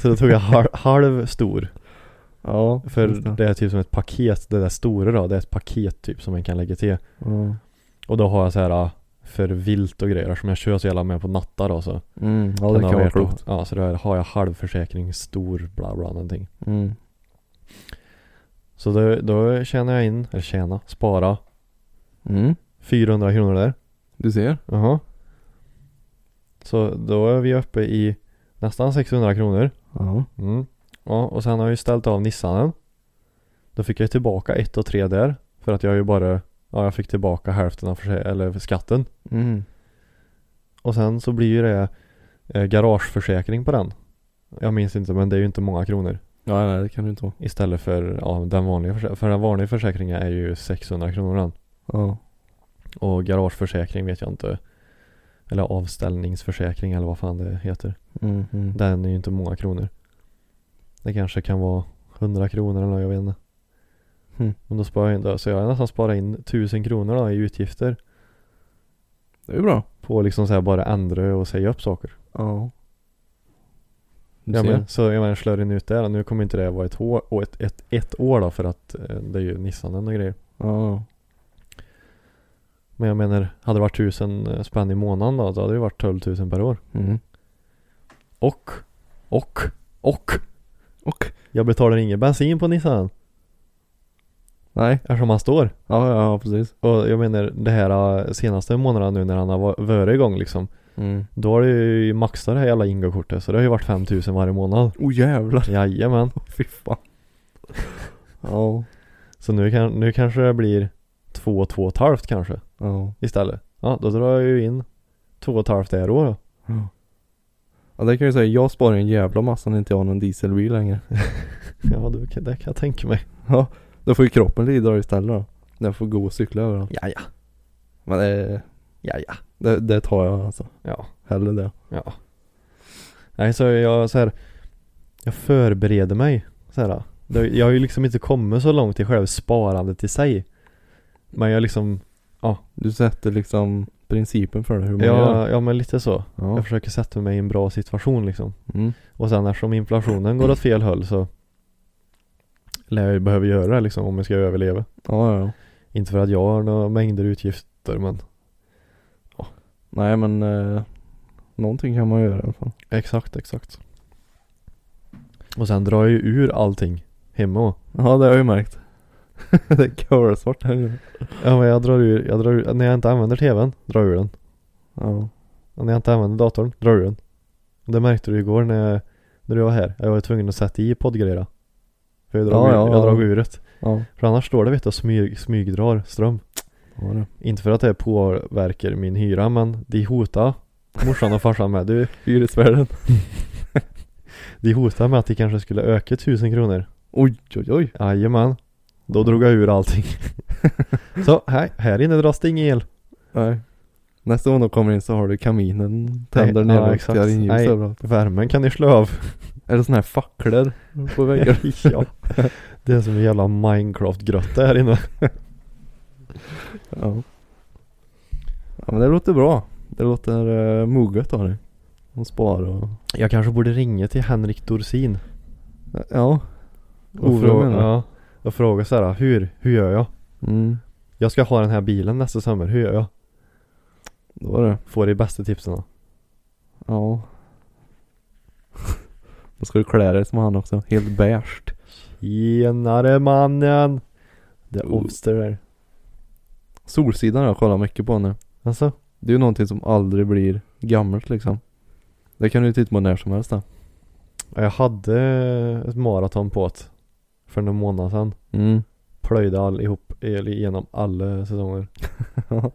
Så då tog jag halv, halv stor.
Ja.
För
just
det är typ som ett paket, det där stora då, det är ett paket typ som man kan lägga till.
Ja.
Och då har jag så här ah, för vilt och grejer som jag kör så jävla med på nattar då så.
Mm, ja
ha
det kan vara
värt att-
klokt.
Ja, så då har jag halvförsäkring, stor, bla bla någonting.
Mm.
Så då, då tjänar jag in, eller tjäna, spara
Mm.
400 kronor där.
Du ser.
Jaha. Så då är vi uppe i nästan 600 kronor.
Ja.
Mm. Ja, och sen har jag ju ställt av Nissanen. Då fick jag ju tillbaka ett och tre där. För att jag ju bara, ja jag fick tillbaka hälften av försä- eller skatten.
Mm.
Och sen så blir ju det eh, garageförsäkring på den. Jag minns inte men det är ju inte många kronor.
Ja, nej det kan du inte vara.
Istället för ja, den vanliga försäkringen. För den vanliga försäkringen är ju 600 kronor den.
Ja.
Och garageförsäkring vet jag inte. Eller avställningsförsäkring eller vad fan det heter.
Mm. Mm.
Den är ju inte många kronor. Det kanske kan vara 100 kronor eller något, jag vet inte.
Mm.
Men då sparar jag in det. Så jag har nästan sparat in 1000 kronor då i utgifter.
Det är ju bra.
På liksom så här bara ändra och säga upp saker.
Ja. Du
Ja,
ser.
men, så jag menar slår in ut det här. Nu kommer inte det vara ett, hår, och ett, ett, ett år då för att eh, det är ju Nissanen och grejer.
Ja.
Men jag menar, hade det varit 1000 spänn i månaden då, då hade det varit 12 000 per år.
Mm.
Och, och, och.
Och.
Jag betalar ingen bensin på Nissanen
Nej.
eftersom han står.
Ja, ja, ja precis.
Och jag menar det här eh, senaste månaderna nu när han har va- varit igång liksom
Mm.
Då har det ju maxat det här jävla ingokortet så det har ju varit 5000 varje månad
Oh jävlar.
Jajamän
Fy fan. ja.
Så nu, kan, nu kanske det blir två, två och ett halvt kanske
Ja.
istället Ja då drar jag ju in två och ett halvt det här år då
Ja det kan jag ju säga, jag sparar en jävla massa när inte jag har någon dieselbil längre.
Ja det, kan- det kan jag tänka mig
Ja, då får ju kroppen lida av istället då. Den får gå och cykla överallt.
Ja ja,
Men det,
ja ja
det, det tar jag alltså.
Ja,
Hellre det.
ja Nej så jag så här Jag förbereder mig så här Det har- Jag har ju liksom inte kommit så långt i själva sparandet i sig. Men jag liksom,
Du sätter liksom principen för det, hur man gör.
ja, ja men lite så.
Ja.
Jag försöker sätta mig i en bra situation liksom.
Mm.
Och sen eftersom inflationen går åt fel håll så lär jag ju behöva göra det liksom om jag ska överleva.
ja, ja, ja.
Inte för att jag har några mängder utgifter men
Nej men eh, någonting kan man göra i alla fall.
exakt, exakt. Och sen drar jag ju ur allting hemma också.
Ja det har jag ju märkt. det är svart här nu.
Ja men jag drar ur, jag drar ur, när jag inte använder tvn, drar jag ur den.
Ja.
Och när jag inte använder datorn, drar jag ur den. Det märkte du igår när, jag, när du var här. Jag var tvungen att sätta i poddgrejerna. För jag drar
Ja,
ur,
ja,
jag
ja.
drar ur det.
Ja.
För annars står det vet du och smyg, smygdrar ström.
Ja, det.
Inte för att det påverkar min hyra men de hotar morsan och farsan med. Du,
Hyresvärden.
de hotar med att de kanske skulle öka tusen kronor.
Oj oj oj.
Jajamän. Då drog jag ur allting. så här, här inne dras det ingen el.
Nej. Nästa gång de kommer in så har du kaminen tänder
Nej,
ner
ja,
och
exakt.
tittar in ljus
Nej.
överallt.
Värmen kan ni slå av.
Eller sådana här facklor på väggarna.
ja. Det är som en jävla Minecraft-grotta här inne.
ja. ja men det låter bra. Det låter uh, moget av dig. Och spara och...
Jag kanske borde ringa till Henrik Dorsin.
Ja.
Och,
Ove
fråga,
menar du?
ja, och fråga så här, hur, hur gör jag?
Mm.
Jag ska ha den här bilen nästa sommar, hur gör jag?
Då var det.
Får de bästa tipsen.
Ja. Då ska du klä dig som han också. Helt beige.
Tjenare mannen! Det är Obster där.
Solsidan har jag kollat mycket på nu.
Alltså?
Det är ju någonting som aldrig blir gammalt liksom. Det kan du ju titta på när som helst då.
Jag hade ett maraton på ett för några månader sedan.
Mm.
Plöjde allihop, eller igenom alla säsonger.
Ja.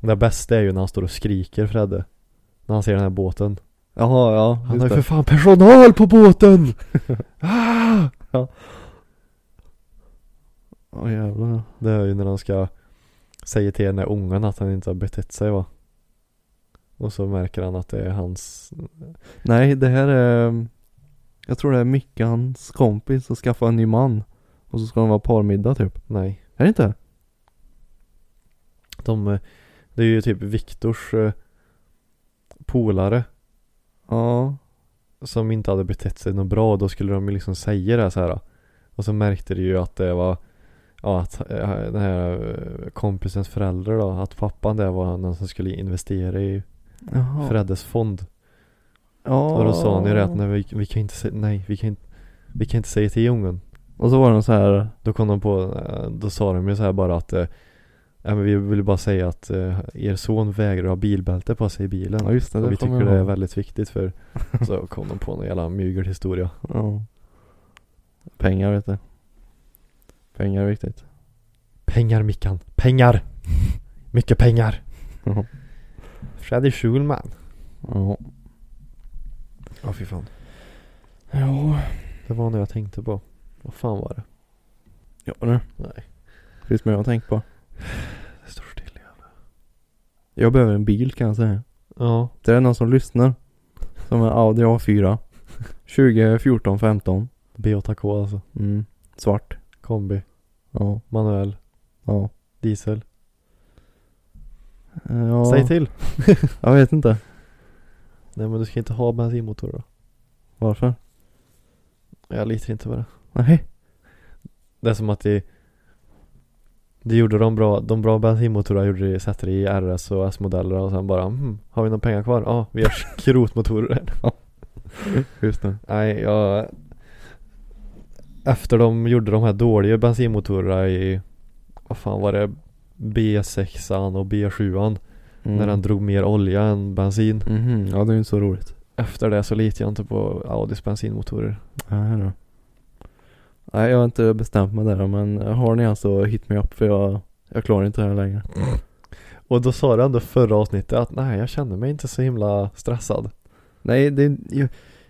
Det bästa är ju när han står och skriker Fredde. När han ser den här båten.
Jaha, ja.
Han
just
har ju
det.
för fan personal på båten! ah!
Ja jävlar.
Det är ju när han ska säga till den där ungen att han inte har betett sig va. Och så märker han att det är hans,
Nej det här är... mm, Jag tror det är Micke, hans kompis, som skaffar en ny man. Och så ska de vara parmiddag typ.
nej.
Är det inte?
De, eh, det är ju typ Viktors eh, polare
Ja.
som inte hade betett sig något bra. Då skulle de ju liksom säga det här så här. Och så märkte de ju att det var, ja att eh, den här eh, kompisens föräldrar då, att pappan där var någon som skulle investera i
Jaha.
Freddes fond.
ja.
Och då sa han ju det att nej, vi, vi kan inte säga, nej vi kan inte, vi kan inte säga till ungen.
Och så var de så här.
Då kom de på, eh, då sa de ju så här bara att eh, Ja, men vi vill bara säga att eh, er son vägrar ha bilbälte på sig i bilen.
Ja just det,
Och
det
vi
kommer
tycker
jag
det är
ihåg.
väldigt viktigt för Så kom de på någon jävla mygelhistoria
Ja. Pengar vet du. Pengar är viktigt.
Pengar Mickan, pengar! Mycket pengar!
Ja.
Freddy Schulman
Ja.
Ja fy fan
Ja.
Det var något jag tänkte på Vad fan var det?
Ja nu.
Nej
Finns mer att tänka på.
Det står still
Jag behöver en bil kan jag säga.
Ja
Det är någon som lyssnar. Som en Audi A4. 2014, 15.
Beota K alltså
Mm. Svart.
Kombi
Ja.
Manuell
Ja.
Diesel
Eh, ja.
Säg till!
Jag vet inte.
Nej men du ska inte ha bensinmotor då
Varför?
Jag litar inte på det
Nej.
Det är som att de De gjorde de bra, de bra bensinmotorerna gjorde de, sätter de i RS och S-modeller och sen bara hmm, har vi några pengar kvar? Ja, vi gör skrotmotorer
Just det.
Nej, jag... Efter de gjorde de här dåliga bensinmotorerna i... Vad fan var det? B6an och B7an.
Mm.
När den drog mer olja än bensin.
Mhm. Ja det är ju inte så roligt.
Efter det så litar jag inte på Audis bensinmotorer.
Nej då. Nej jag har inte bestämt mig där då, men har ni alltså hit mig upp för jag, jag klarar inte det här längre.
Och då sa du ändå förra avsnittet att nej, jag känner mig inte så himla stressad.
Nej, det, jag,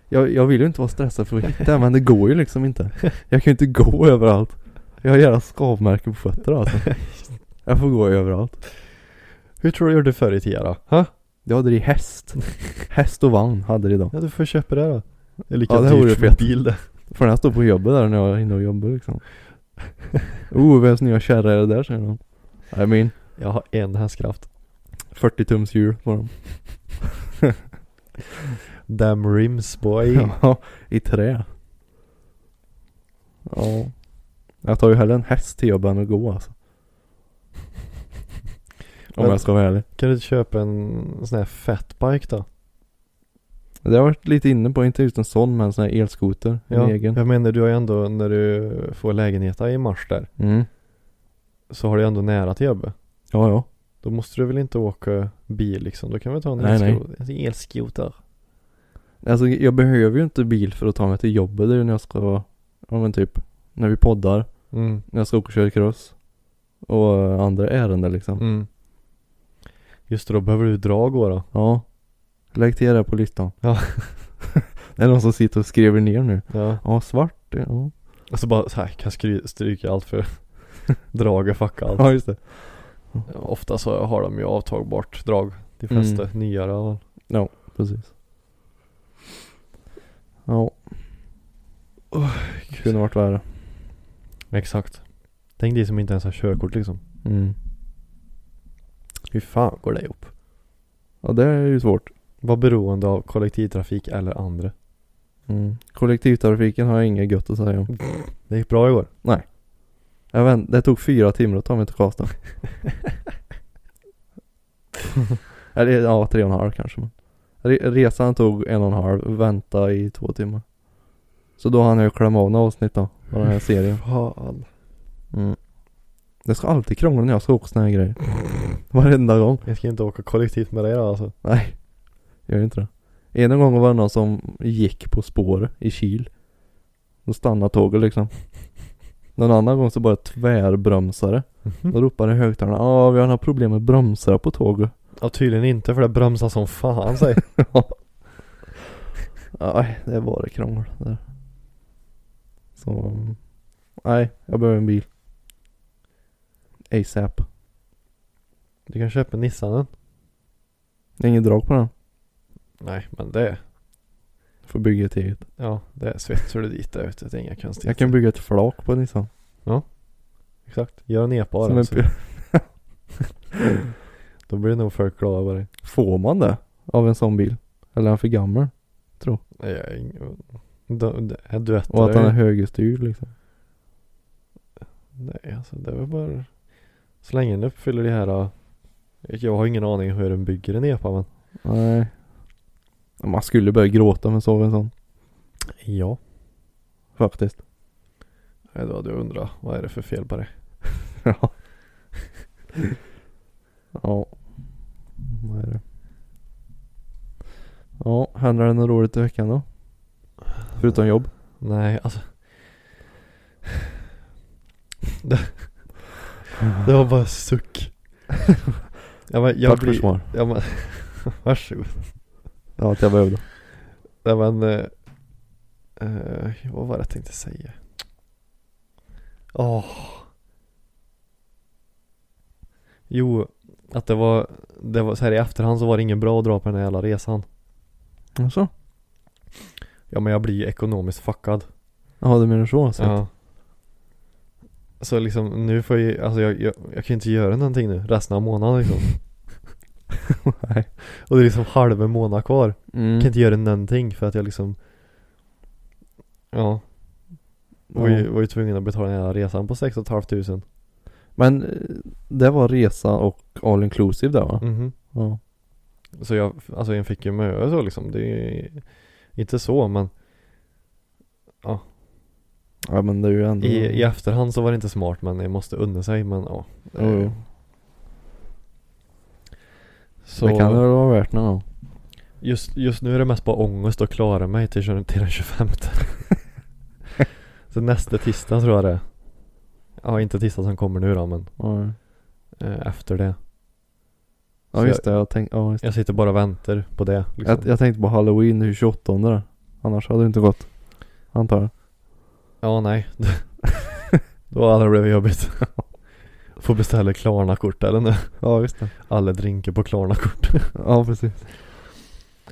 jag, jag vill ju inte vara stressad för att hitta men det går ju liksom inte. Jag kan ju inte gå överallt. Jag har jävla skavmärken på fötterna alltså. Jag får gå överallt.
Hur tror du gjorde förr i tiden då? Ha?
Jag hade det i häst. Häst och vagn hade det idag.
Ja, du får köpa det då. Det är lika
Ja, det vore
dyrt som en
fett.
bil det.
För den stod på jobbet där när jag var inne och jobbade liksom. Oh, vems nya kärra är det där säger de. I mean,
Jag har en hästkraft.
40 tums hjul på dem.
Damn rims boy.
Ja, i trä. Ja. Jag tar ju hellre en häst till jobbet än att gå alltså. Om
Men-
jag ska vara ärlig.
Kan du inte köpa en sån här fatbike då?
Det har jag varit lite inne på, inte just en sån men en sån här elskoter. En egen.
Jag menar du har ju ändå när du får lägenheten i mars där.
Mm.
Så har du ändå nära till jobbet.
Ja, ja.
Då måste du väl inte åka bil liksom. Då kan vi ta en
Nej, nej.
elsko- en elskoter.
Alltså jag behöver ju inte bil för att ta mig till jobbet. Det är ju när jag ska, ja men typ, när vi poddar.
Mm.
När jag ska åka och köra cross. Och eh, andra ärenden liksom.
Mm. Just det, då behöver du dra och gå då.
Ja. Lägg till det här på listan.
Ja.
det är någon som sitter och skriver ner nu.
Ja.
Ja, svart. Ja,
Och så bara så här, kan skry- stryka allt för drag och fucka allt.
ja just det.
Ofta så har de ju avtagbart drag. De
Mm.
flesta nyare har.
Precis. Ja. Kunde varit värre.
Exakt. Tänk dig som inte ens har körkort liksom.
Mm.
Hur fan går det ihop?
Ja, det är ju svårt.
Var beroende av kollektivtrafik eller andra.
Mm. Kollektivtrafiken har jag inget gött att säga om.
Det gick bra igår.
Jag vet, det tog fyra timmar att ta mig till Karlstad. Eller ja, tre och en halv kanske. Men. Re- Resan tog en och en halv, vänta i två timmar. Så då hann jag ju klämma av några avsnitt då, av den här serien.
Fan.
Mm. Det ska alltid krångla när jag ska åka såna här grejer. Varenda gång.
Jag ska inte åka kollektivt med dig då alltså.
Nej, gör inte det. Ena gången var det någon som gick på spåret i Kil. Då stannade tåget liksom. Någon annan gång så bara tvärbromsade. Då ropade högtalarna Ja vi har några problem med bromsar på tåget
Ja tydligen inte för det bromsar som fan sig.
Nej det var det krångel där Så Nej jag behöver en bil ASAP
Du kan köpa Nissanen.
Det är inget drag på den
Nej men det.
Får bygga ett eget
Ja det svetsar du dit där ute. Det är inga konstigheter.
Jag kan bygga ett flak på Nissan
Exakt. Gör en E epa av
Som en
den, så alltså. Då blir nog folk glada på dig.
Får man det? Av en sån bil? Eller är han för gammal?
Nej, jag är ing- Du- du- är duetter
Och att han är
är-
högerstyrd liksom
Nej alltså det var bara. Så länge den uppfyller det här. uh, Jag har ingen aning hur den bygger en epa men.
Nej Man skulle börja gråta om man såg en sån
Ja.
Faktiskt
Nej då hade jag undrat. Vad är det för fel på det?
Ja. ja. Vad är det? Ja, händer det något roligt i veckan då? Förutom jobb?
Nej, alltså. Det, det var bara suck. Ja, men jag
Tack för
blir,
svar.
ja, men, varsågod.
Ja, att jag behövde.
Nej men, eh, eh, vad var det jag tänkte säga? Åh. Jo, att det var, det var så här i efterhand så var det ingen bra att dra på den här jävla resan.
Jaså?
Ja men jag blir ju ekonomiskt fuckad.
Jaha, du menar så? så.
Ja. Så liksom nu får jag alltså jag, jag, jag kan ju inte göra någonting nu resten av månaden liksom.
Nej.
Och det är liksom halva månad kvar. Jag kan
Mm.
inte göra någonting för att jag liksom Ja. Var ju,
Ja.
var ju tvungen att betala den här resan på 6 500.
Men eh, det var resa och all inclusive där va?
Mhm.
Ja.
Så jag, alltså jag fick ju mö så liksom. Det är ju inte så men
ja, men det är ju ändå...
i, i efterhand så var det inte smart men jag måste unna sig men ja.
Jo, jo.
Så
Det kan väl vara värt det då?
Just, just nu är det mest bara ångest att klara mig till, tjugo- till den 25 Så nästa tisdag tror jag det är. Ja inte tisdag som kommer nu då men
Ja,
eh, efter det.
ja
Så
just det. Jag tänkte, ja, just det.
Jag sitter bara och väntar på det liksom.
Jag, jag tänkte på halloween den 28 där. Annars hade det inte gått. Antar jag.
Ja nej. Då hade det blivit jobbigt. Får beställa Klarna-kort eller nu.
Ja, just det.
Alla drinkar på Klarna-kort.
Ja, precis.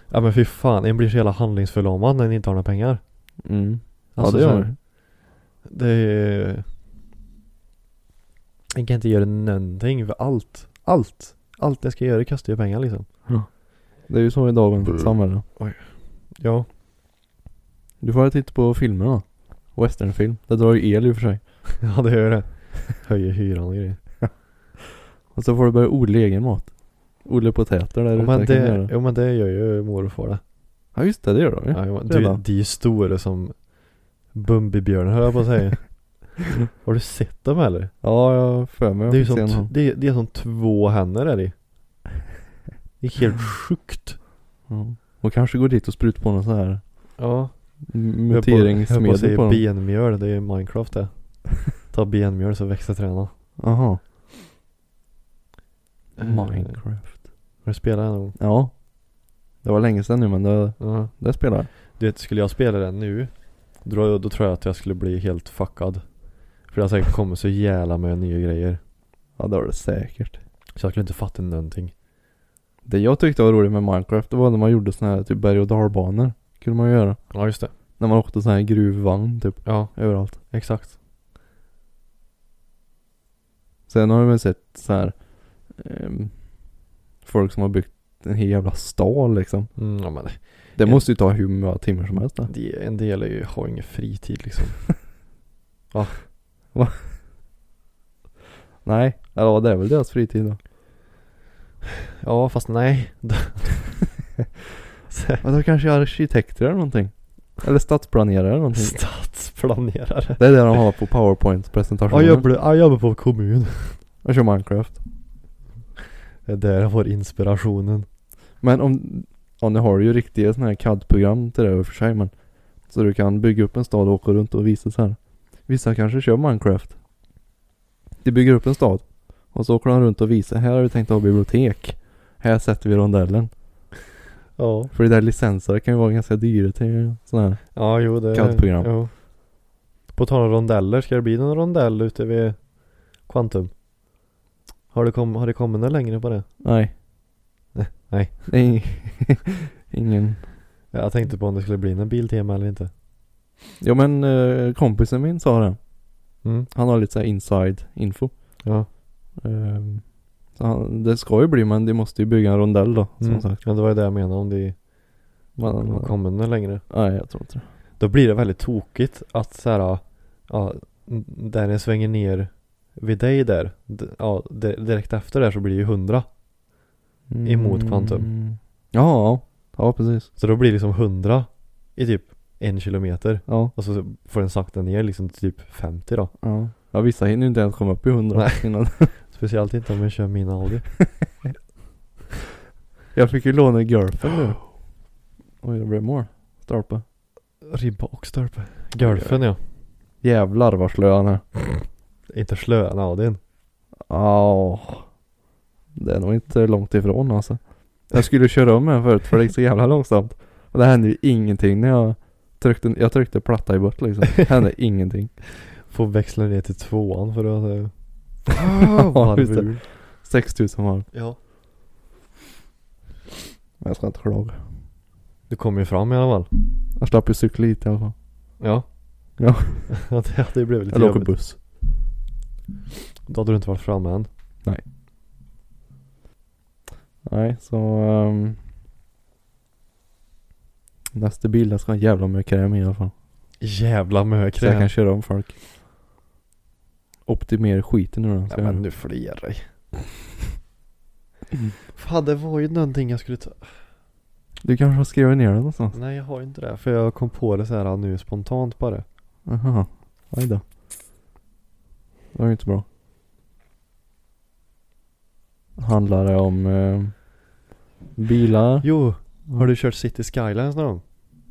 Ja men fy fan, en blir så jävla handlingsförlamad när ni inte har några pengar.
Mm.
Alltså,
det gör
så här,
man.
Det är... Jag kan inte göra någonting för allt. Allt. Allt jag ska göra kostar ju pengar liksom.
Det är ju så i
Brr.
dagens samhälle.
Ja.
Du får titta på filmerna. Westernfilm. Det drar ju el i och för sig.
Ja det gör det. Höjer hyran och grejer.
Och så får du börja odla egen mat. Odla potäter där
Jo
ute.
men,
kan du
det,
göra.
jo men det gör ju mor och far det.
Ja just det, det gör de ju.
Ja, jo, men
redan.
du, de är ju stora som Bumbibjörnar höll jag på att säga. Har du sett dem eller?
Ja, jag har för mig.
Det är ju
Jag fick
som,
se
t-
någon.
det, är- det är som två händer där i. Det är helt sjukt.
Ja. Och kanske gå dit och spruta på någon sån här
Ja. Jag höll på att
muteringsmedel
säga
på dem.
benmjöl, det är Minecraft det. Ta benmjöl så växer träna.
Jaha.
Eh,
Minecraft.
Har du spelat det någon gång?
Ja. Det var länge sedan nu men det,
Ja.
det spelar jag.
Du vet, skulle jag spela det nu, då, då tror jag att jag skulle bli helt fuckad. För det har säkert kommit så jävla med nya grejer.
Ja det var det säkert.
Så jag skulle inte fatta någonting.
Det jag tyckte var roligt med Minecraft det var när man gjorde såna här typ berg och dalbanor. Kunde man ju göra.
Ja just det.
När man åkte sån här gruvvagn typ
Ja,
överallt.
exakt.
Sen har man sett så här ehm, folk som har byggt en hel jävla stad liksom.
Mm, ja, men det-
Det
Ja.
måste ju ta hur många timmar som helst. det.
det, en del är ju, har ingen fritid liksom.
Nej, eller ja, det är väl deras fritid då.
Ja fast nej. Så-
Men då kanske är arkitekter eller någonting. Eller stadsplanerare eller någonting.
Stadsplanerare.
Det är det de har på powerpoint-presentationen.
Ja, jag blev- jag jobbar på kommun.
Jag kör Minecraft.
Det är där jag får inspirationen.
Men om, ja nu har du ju riktiga sådana här CAD-program till det i och för sig men. Så du kan bygga upp en stad och åka runt och visa så här. Vissa kanske kör Minecraft. De bygger upp en stad. Och så åker de runt och visar. Här har vi tänkt ha bibliotek. Här sätter vi rondellen.
Ja.
För det där licenser kan ju vara ganska dyra till sådana här.
Ja jo det.
CAD-program.
Jo. På tal om rondeller, ska det bli någon rondell ute vid Quantum? Har det, kom, har det kommit något längre på det?
Nej.
nej.
Nej. Ingen.
Jag tänkte på om det skulle bli någon biltema eller inte.
Ja men eh, kompisen min sa det.
Mm.
Han har lite så här inside info.
Ja.
Ehm, Så han, det ska ju bli men de måste ju bygga en rondell då som
Mm.
sagt.
Ja det var ju det jag menade om det
Men, eh,
har kommit något längre.
Nej jag tror inte det.
Då blir det väldigt tokigt att så här, ja, där den svänger ner vid dig där, d- ja, di- direkt efter där så blir det ju 100. Emot kvantum.
Mm. Ja, ja, ja precis.
Så då blir det liksom 100 i typ en kilometer.
Ja,
Och så får den sakta ner liksom till typ 50 då.
ja. ja vissa hinner ju inte ens komma upp i 100
Nej.
innan.
Speciellt inte om jag kör min Audi.
Jag fick ju låna girlfriend nu. Oj det blev mål. Stolpe.
Ribba och stolpe. Golfen ja.
Jävlar vad slö han är.
Inte slö än Audin.
Ja. Det är nog inte långt ifrån alltså. Jag skulle köra om en förut för det gick så jävla långsamt. Och det hände ju ingenting när jag tryckte, jag tryckte platta i bort liksom. Det hände ingenting.
Får växla ner till tvåan för att... eh,
Ja, just det.
varvul.
6000 varv.
ja.
Men jag ska inte klaga.
Du kommer ju fram i alla fall.
Jag slapp ju cykla hit i alla fall.
Ja.
Ja.
ja det hade ju blivit lite
Eller åka
jobbigt.
buss.
Då hade du inte varit framme än.
Nej, så... ehm, nästa bil, jag ska ha jävla mycket kräm i alla fall.
Jävla
Så jag
mökräm.
kan köra om folk. Optimera skiten nu då. ska
Ja,
jag göra.
men nu får du ge dig. Mm. Fan det var ju någonting jag skulle ta.
Du kanske har skrivit ner alltså. det någonstans?
Nej jag har inte det. För jag kom på det så här nu spontant bara.
Aha. Oj då. Det var ju inte bra. Handlar det om eh, bilar?
Jo,
Mm.
har du kört City Skylines någon gång?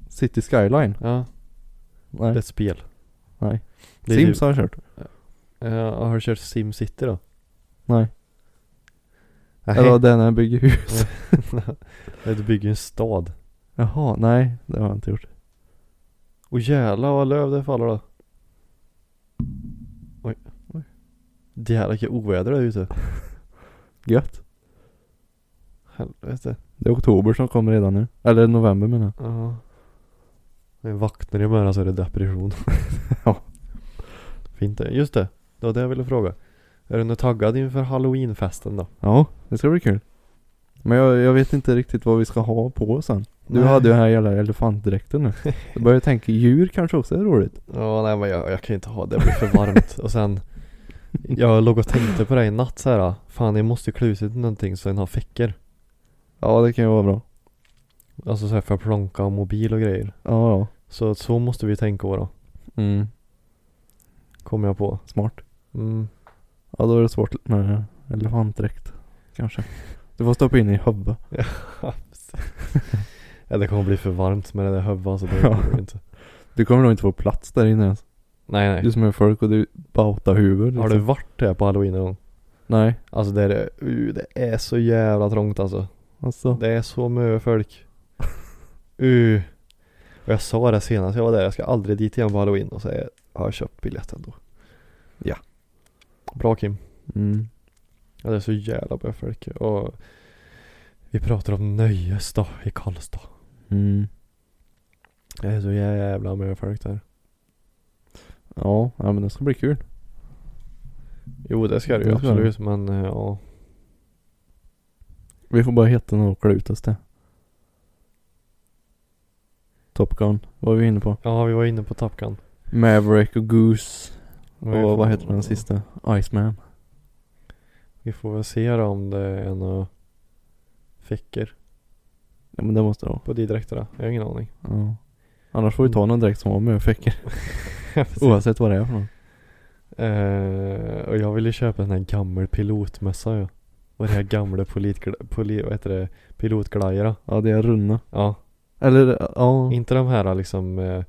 City Skyline?
Ja. Det är
Nej.
ett spel.
Nej.
Det är
Sims har jag kört.
Typ, ja, har du kört Sim City då?
Nej.
Nej.
Eller den när jag bygger hus.
Nej, du bygger ju en stad.
Jaha, nej. Det har jag inte gjort.
Och jävlar vad löv det faller då. Oj.
Oj.
Jävlar vilket oväder det är ute.
Gött.
Helvete.
Det är oktober som kommer redan nu. Eller november menar jag.
Ja. När jag vaknar i morgon så är det depression.
Ja.
Fint det. Just det. Det var det jag ville fråga. Är du nu taggad inför halloweenfesten då?
Ja, det ska bli kul. Men jag, jag vet inte riktigt vad vi ska ha på oss sen. Du
Nej.
hade ju den här jävla elefantdräkten nu. Jag börjar tänka, djur kanske också är roligt.
Ja, nej men jag, jag kan ju inte ha det. Det blir för varmt. och sen, jag låg och tänkte på det i natt så här. Fan jag måste klä ut mig till någonting så den har fickor.
Ja, det kan ju vara bra.
Alltså så här för plånka och mobil och grejer.
Ja, ja.
Så, så måste vi tänka då.
Mm.
Kommer jag på.
Smart.
Mm.
Ja, då är det svårt med elefantdräkt. Kanske. Du får stoppa in i huvudet.
Ja, det kommer bli för varmt med det där hövvan så det
Ja.
kommer inte.
Du kommer nog inte få plats där inne ens.
Nej
Du som är folk och du bautar huvud. liksom.
Har du varit där på halloween någon gång?
Nej.
Alltså det är, uh, det är så jävla trångt alltså.
Alltså.
Det är så mycket folk. Uh. Och jag sa det senast jag var där, jag ska aldrig dit igen på halloween och säga har jag köpt biljett ändå.
Ja.
Bra Kim.
Mm.
Ja, det är så jävla mycket folk och vi pratar om nöjes då i Karlstad.
Mm.
Det är så jävla mycket folk där.
Ja, ja, men det ska bli kul.
Jo det ska det ju
Det ska det.
absolut men eh, ja.
Vi får bara hitta något att klä ut oss till. Top Gun, vad var vi inne på?
Ja vi var inne på Top Gun.
Maverick och Goose
Vi får-
och vad heter den sista? Iceman.
Vi får väl se då om det är några fickor
Ja men det måste det vara.
på de dräkterna. Jag har ingen aning.
Ja. Annars får vi ta någon direkt som var med och fick. Oavsett vad det är för någon.
Eh, och jag ville köpa en här gammal pilotmössa ja. Och det här gamla politgla- poli- vad heter det? pilotglajjorna.
Ja det är runna.
Ja.
Eller ja.
Inte de här liksom eh,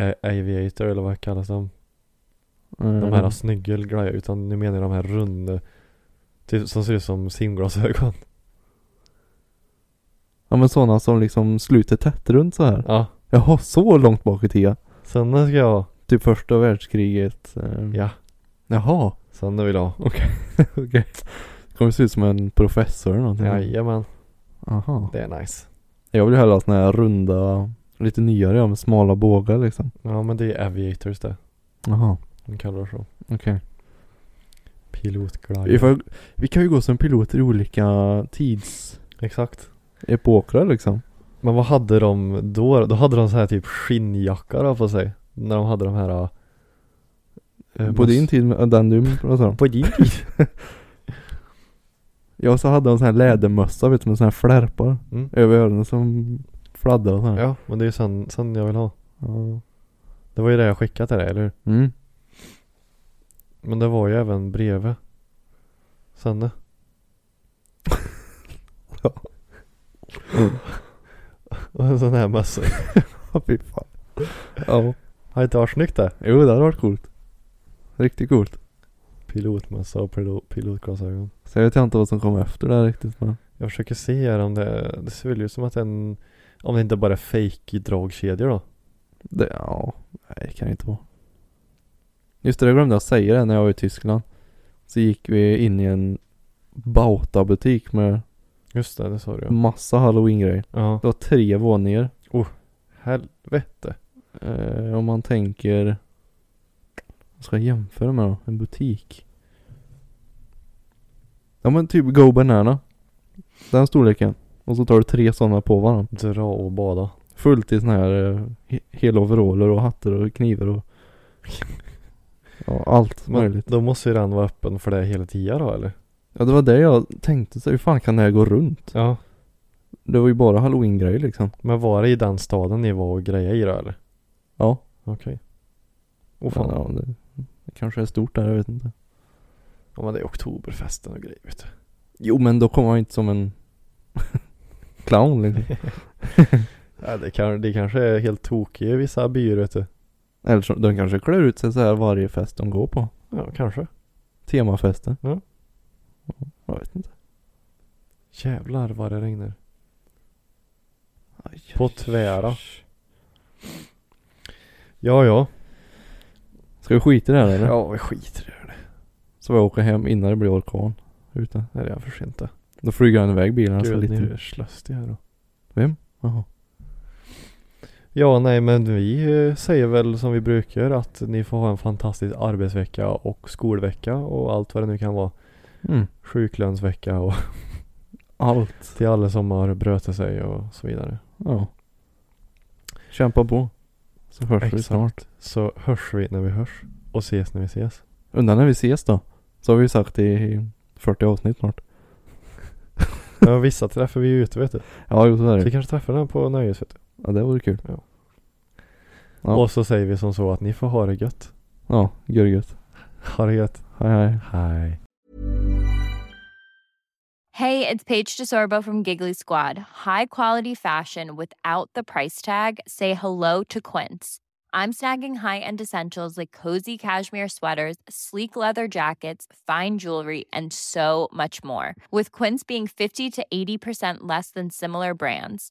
eh, aviator eller vad kallas de?
eh,
De
Mm.
här snygga glajjor utan nu menar jag de här runda. Typ, som ser ut som simglasögon.
Ja men sådana som liksom sluter tätt runt så här.
Ja.
Jaha, så långt bak i tiden.
Sådana ska jag ha.
Typ första världskriget. Eh.
Ja.
Jaha.
Sådana vill jag ha.
Okej. Kommer se ut som en professor eller någonting.
Mm. Jajamän.
Aha.
Det är nice.
Jag vill hellre ha såna här runda, lite nyare ja, med smala bågar liksom.
Ja men det är aviators det.
Jaha.
De kallar det så.
Okej.
Pilotglajjor.
Vi, får- vi kan ju gå som piloter i olika tidsepoker
Exakt.
liksom.
Men vad hade de då? Då hade de så här typ skinnjacka då på sig. När de hade de här... eh,
På
mås-
din tid, med den du pratade om.
På din tid?
Ja, så hade de sån här lädermössa vet du med såna här flärpar.
Mm.
Över öronen som fladdrar och sån här.
Ja, men det är ju sån, sån jag vill ha.
Ja.
Det var ju det jag skickade till dig, eller hur?
Mm.
Men det var ju även bredvid. Sanne.
Ja.
Och en sån här mössa.
Ja, fy fan. Ja.
Har inte varit snyggt det?
Jo, det hade varit coolt. Riktigt coolt.
Pilotmössa och pilot, pilotglasögon.
Så jag vet inte vad som kom efter det här riktigt men.
Jag försöker se här om det, det ser väl ut som att en, om det inte bara är fake dragkedjor då.
Det, ja, nej det kan det inte vara. Just det, jag glömde jag säga det när jag var i Tyskland. Så gick vi in i en Bauta-butik med
Just det, det sa du ja.
massa halloween-grejer.
Mm. Ja.
Det var tre våningar.
Helvete.
Eh, om man tänker... Vad ska jag jämföra med då? En butik? Ja men typ Go Banana. Den storleken. Och så tar du tre sådana på varandra.
Dra och bada.
Fullt i sådana här eh, he- heloveraller och hattar och knivar och... Ja, allt
Men
möjligt.
då måste ju den vara öppen för det hela tiden då eller?
Ja det var det jag tänkte så hur fan kan det här gå runt?
Ja.
Det var ju bara halloween-grejer liksom.
Men var det i den staden ni var och grejade i då eller?
Ja.
Okej. Åh
Men,
fan. Ja,
ja, det, det kanske är stort där, jag vet inte.
men det är oktoberfesten och grejer vet du.
Jo men då kommer han inte som en clown liksom.
Ja, det, kan, det kanske är helt tokigt i vissa byar vet du.
Eller så, de kanske klär ut sig så här varje fest de går på.
Ja, kanske.
Temafester.
Ja.
Ja, Jag vet inte.
Jävlar vad det regnar. På tvära. Ja, ja.
Ska vi skita i det här eller?
Ja, vi skiter i det.
Så får jag åka hem innan det blir orkan ute.
Nej, det är för sent det.
Då
Alltså,
flyger han iväg bilen så
Gud,
lite.
ni är slöstiga här då.
Vem? Jaha.
Ja, nej men vi eh, säger väl som vi brukar att ni får ha en fantastisk arbetsvecka och skolvecka och allt vad det nu kan vara.
Mm.
Sjuklönsvecka och
Allt.
till alla som har brötit sig och så vidare.
Ja. Kämpa på. Så hörs vi
Exakt.
snart.
Så hörs vi när vi hörs och ses när vi ses.
Undrar när vi ses då. Så har vi ju sagt i 40 avsnitt snart.
Ja, vissa träffar vi ju ute vet du.
Ja, jo så är
Så
det.
vi kanske träffar den på nöjes vet du.
Ja, det vore kul.
Ja.
Ja.
Och så säger vi som så att ni får ha det gött.
Ja, gör det gött.
Ha det gött.
Hej hej.
Hej.
Hey, it's Paige DeSorbo from Giggly Squad. High quality fashion without the price tag. Say hello to Quince. I'm snagging high-end essentials like cozy cashmere sweaters, sleek leather jackets, fine jewelry, and so much more. With Quince being 50 to 80% less than similar brands.